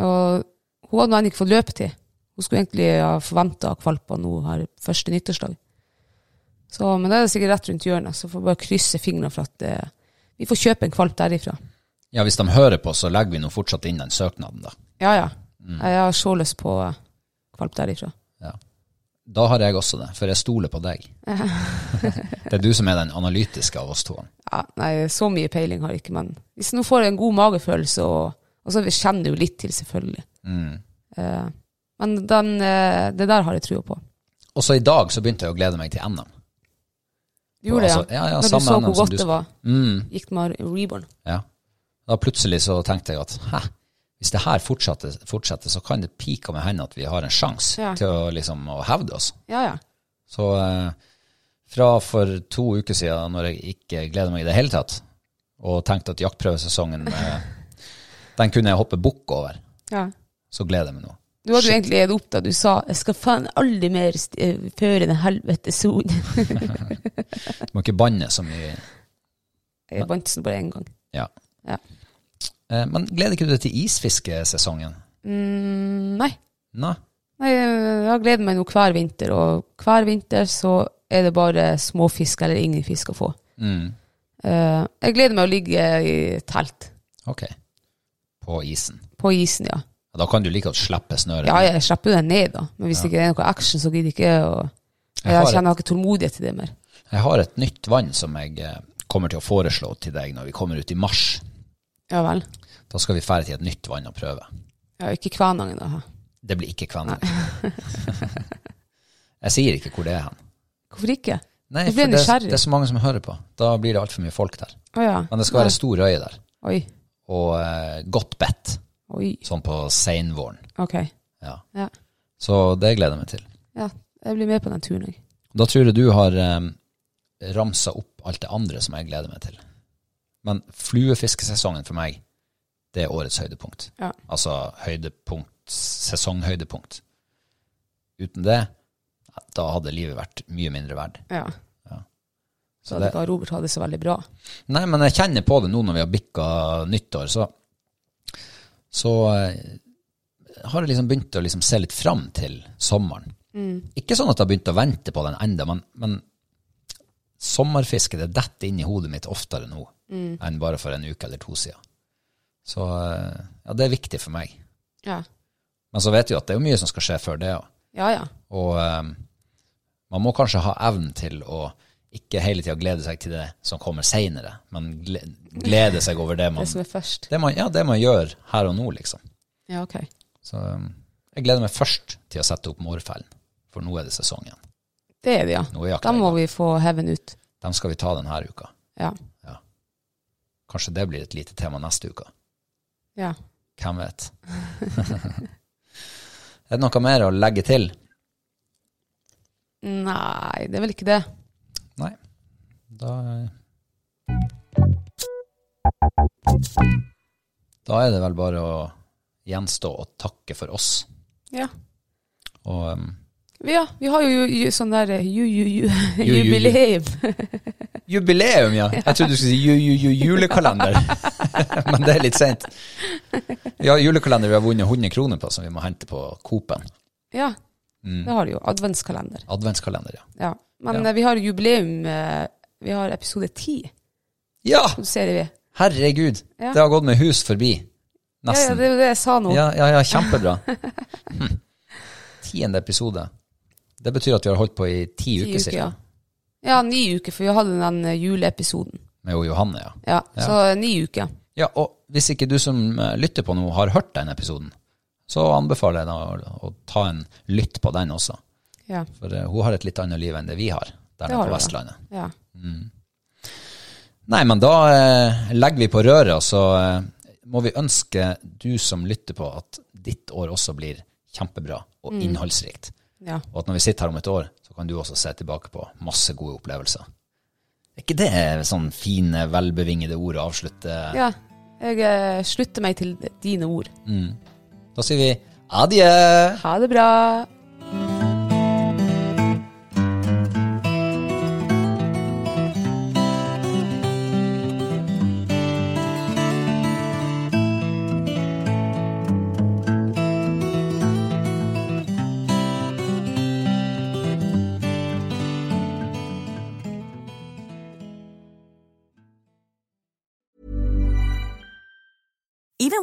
Speaker 2: Og hun hadde nå ennå ikke fått løpe til. Hun skulle egentlig ha forventa kvalper nå her første nyttårsdag. Så, men det er sikkert rett rundt hjørnet, så får vi bare krysse fingrene for at eh, vi får kjøpe en kvalp derifra.
Speaker 1: Ja, hvis de hører på, så legger vi nå fortsatt inn den søknaden, da.
Speaker 2: Ja, ja. Jeg har så lyst på eh, kvalp derifra.
Speaker 1: Ja. Da har jeg også det, for jeg stoler på deg. det er du som er den analytiske av oss to.
Speaker 2: Ja, nei, så mye peiling har jeg ikke, men hvis nå får jeg en god magefølelse, og, og så kjenner jeg jo litt til, selvfølgelig.
Speaker 1: Mm.
Speaker 2: Eh, men den, eh, det der har jeg trua på.
Speaker 1: Også i dag så begynte jeg å glede meg til NM.
Speaker 2: Du gjorde det,
Speaker 1: Altså, ja, ja,
Speaker 2: Når du
Speaker 1: samme
Speaker 2: så
Speaker 1: NM
Speaker 2: hvor
Speaker 1: som
Speaker 2: godt
Speaker 1: du
Speaker 2: det var,
Speaker 1: Mm,
Speaker 2: gikk det med reborn.
Speaker 1: ja. Da plutselig så tenkte jeg at hæ, hvis det her fortsetter, fortsetter så kan det pika med hende at vi har en sjanse
Speaker 2: Ja.
Speaker 1: til å, liksom, å hevde oss.
Speaker 2: Ja, ja.
Speaker 1: Så eh, fra for to uker siden, når jeg ikke gleder meg i det hele tatt, og tenkte at jaktprøvesesongen eh, den kunne jeg hoppe bukk over,
Speaker 2: ja.
Speaker 1: så gleder jeg meg nå.
Speaker 2: Du hadde jo egentlig gitt opp da du sa 'jeg skal faen aldri mer st- eh, føre den helvete sonen'.
Speaker 1: Du må ikke banne så mye.
Speaker 2: Jeg vant den bare én gang.
Speaker 1: Ja.
Speaker 2: Ja.
Speaker 1: Eh, Men gleder ikke du deg til isfiskesesongen?
Speaker 2: Mm, nei.
Speaker 1: Nei.
Speaker 2: Nei, jeg gleder meg nå hver vinter, og hver vinter så er det bare småfisk eller ingen fisk å få.
Speaker 1: Mm.
Speaker 2: Eh, jeg gleder meg å ligge i telt,
Speaker 1: Ok. På isen.
Speaker 2: på isen, ja.
Speaker 1: Ja, Da kan du like godt slippe snøret.
Speaker 2: Ja, jeg slipper jo den ned, da, men hvis det ikke er noe action, så gidder ikke jeg å
Speaker 1: Jeg
Speaker 2: Jeg,
Speaker 1: har
Speaker 2: jeg kjenner jeg har ikke tålmodighet til det mer.
Speaker 1: Jeg har et nytt vann som jeg eh, kommer til å foreslå til deg når vi kommer ut i mars.
Speaker 2: Ja vel.
Speaker 1: Da skal vi fære til et nytt vann og prøve.
Speaker 2: Ja, ikke Kvænangen, da. hæ?
Speaker 1: Det blir ikke Kvænangen. jeg sier ikke hvor det er hen.
Speaker 2: Hvorfor ikke?
Speaker 1: Nei,
Speaker 2: Jeg
Speaker 1: for
Speaker 2: ble
Speaker 1: det,
Speaker 2: nysgjerrig.
Speaker 1: det er så mange som hører på. Da blir det altfor mye folk der.
Speaker 2: Å ja.
Speaker 1: Men det skal
Speaker 2: Nei.
Speaker 1: være stor øye der,
Speaker 2: Oi.
Speaker 1: og eh, godt bedt,
Speaker 2: Oi.
Speaker 1: sånn på seinvåren.
Speaker 2: Ok.
Speaker 1: Ja.
Speaker 2: Ja.
Speaker 1: Så det gleder jeg meg til.
Speaker 2: ja. Jeg blir med på den turen, jeg.
Speaker 1: Da tror jeg du har eh, ramsa opp alt det andre som jeg gleder meg til. Men fluefiskesesongen for meg, det er årets høydepunkt.
Speaker 2: Ja.
Speaker 1: Altså høydepunkt, sesonghøydepunkt. Uten det, da hadde livet vært mye mindre verd.
Speaker 2: Ja.
Speaker 1: Ja.
Speaker 2: Så hadde
Speaker 1: det-
Speaker 2: ikke Robert hatt det så veldig bra.
Speaker 1: Nei, men jeg kjenner på det nå når vi har bikka nyttår, så, så eh, har jeg liksom begynt å liksom se litt fram til sommeren. Ikke sånn at jeg har begynt å vente på den enda, men, men sommerfiske det detter inn i hodet mitt oftere nå enn bare for en uke eller to siden. Så eh, ja, det er viktig for meg.
Speaker 2: Ja.
Speaker 1: Men så vet jeg jo at det er jo mye som skal skje før det òg.
Speaker 2: Ja, ja.
Speaker 1: Og eh, man må kanskje ha evnen til å ikke hele tida glede seg til det som kommer seinere, men gle- glede seg over det man,
Speaker 2: Det som er først.
Speaker 1: det, man, ja, det man gjør her og nå, liksom.
Speaker 2: Ja, ok.
Speaker 1: Så eh, jeg gleder meg først til å sette opp mårfellen, for nå er det sesong igjen.
Speaker 2: Det er det, ja.
Speaker 1: Nå er jakta
Speaker 2: Da
Speaker 1: i
Speaker 2: må
Speaker 1: gang.
Speaker 2: vi få heaven ut.
Speaker 1: Dem skal vi ta denne uka.
Speaker 2: Ja.
Speaker 1: Kanskje det blir et lite tema neste uke.
Speaker 2: ja.
Speaker 1: Hvem vet? er det noe mer å legge til?
Speaker 2: Nei, det er vel ikke det.
Speaker 1: Nei. Da Da er det vel bare å gjenstå å takke for oss.
Speaker 2: Ja.
Speaker 1: Og um,
Speaker 2: Ja, vi har jo, ju- sånn der eh, ju, ju, ju,
Speaker 1: ju, ju.
Speaker 2: jubileum.
Speaker 1: Jubileum, ja! Jeg trodde du skulle si ju, ju, ju, julekalender. Men det er litt seint. Vi har julekalender vi har vunnet 100 kroner på, som vi må hente på Coop-en.
Speaker 2: Ja, det har du jo. Adventskalender.
Speaker 1: Adventskalender, Mm. ja.
Speaker 2: Ja. Men
Speaker 1: Ja.
Speaker 2: eh, vi har jubileum eh, Vi har episode ti.
Speaker 1: Ja!
Speaker 2: som serie V.
Speaker 1: Herregud,
Speaker 2: Ja.
Speaker 1: det har gått med hus forbi.
Speaker 2: Ja, ja,
Speaker 1: Nesten.
Speaker 2: det er jo det jeg sa nå.
Speaker 1: Ja, ja, ja kjempebra. Hm. Tiende episode. Det betyr at vi har holdt på i ti,
Speaker 2: Ti
Speaker 1: uker
Speaker 2: uker,
Speaker 1: cirka.
Speaker 2: ja. Ja, ni uker, for vi hadde den eh, juleepisoden.
Speaker 1: Med jo Johanne, ja.
Speaker 2: Ja, så eh, ni uker.
Speaker 1: ja. Og hvis ikke du som eh, lytter på nå har hørt den episoden, så anbefaler jeg deg å, å ta en lytt på den også.
Speaker 2: Ja.
Speaker 1: For eh, hun har et litt annet liv enn det vi har der
Speaker 2: Det
Speaker 1: nede på
Speaker 2: har hun, ja.
Speaker 1: Vestlandet.
Speaker 2: ja.
Speaker 1: Nei, men da eh, legger vi på røret, og så eh, må vi ønske du som lytter på, at ditt år også blir kjempebra og
Speaker 2: Mm.
Speaker 1: innholdsrikt.
Speaker 2: ja.
Speaker 1: Og at når vi sitter her om et år, så kan du også se tilbake på masse gode opplevelser. Er ikke det sånn fine, velbevingede ord å avslutte?
Speaker 2: ja. Jeg eh, slutter meg til dine ord.
Speaker 1: Mm. Da sier vi adjø!
Speaker 2: Ha det bra.
Speaker 3: Even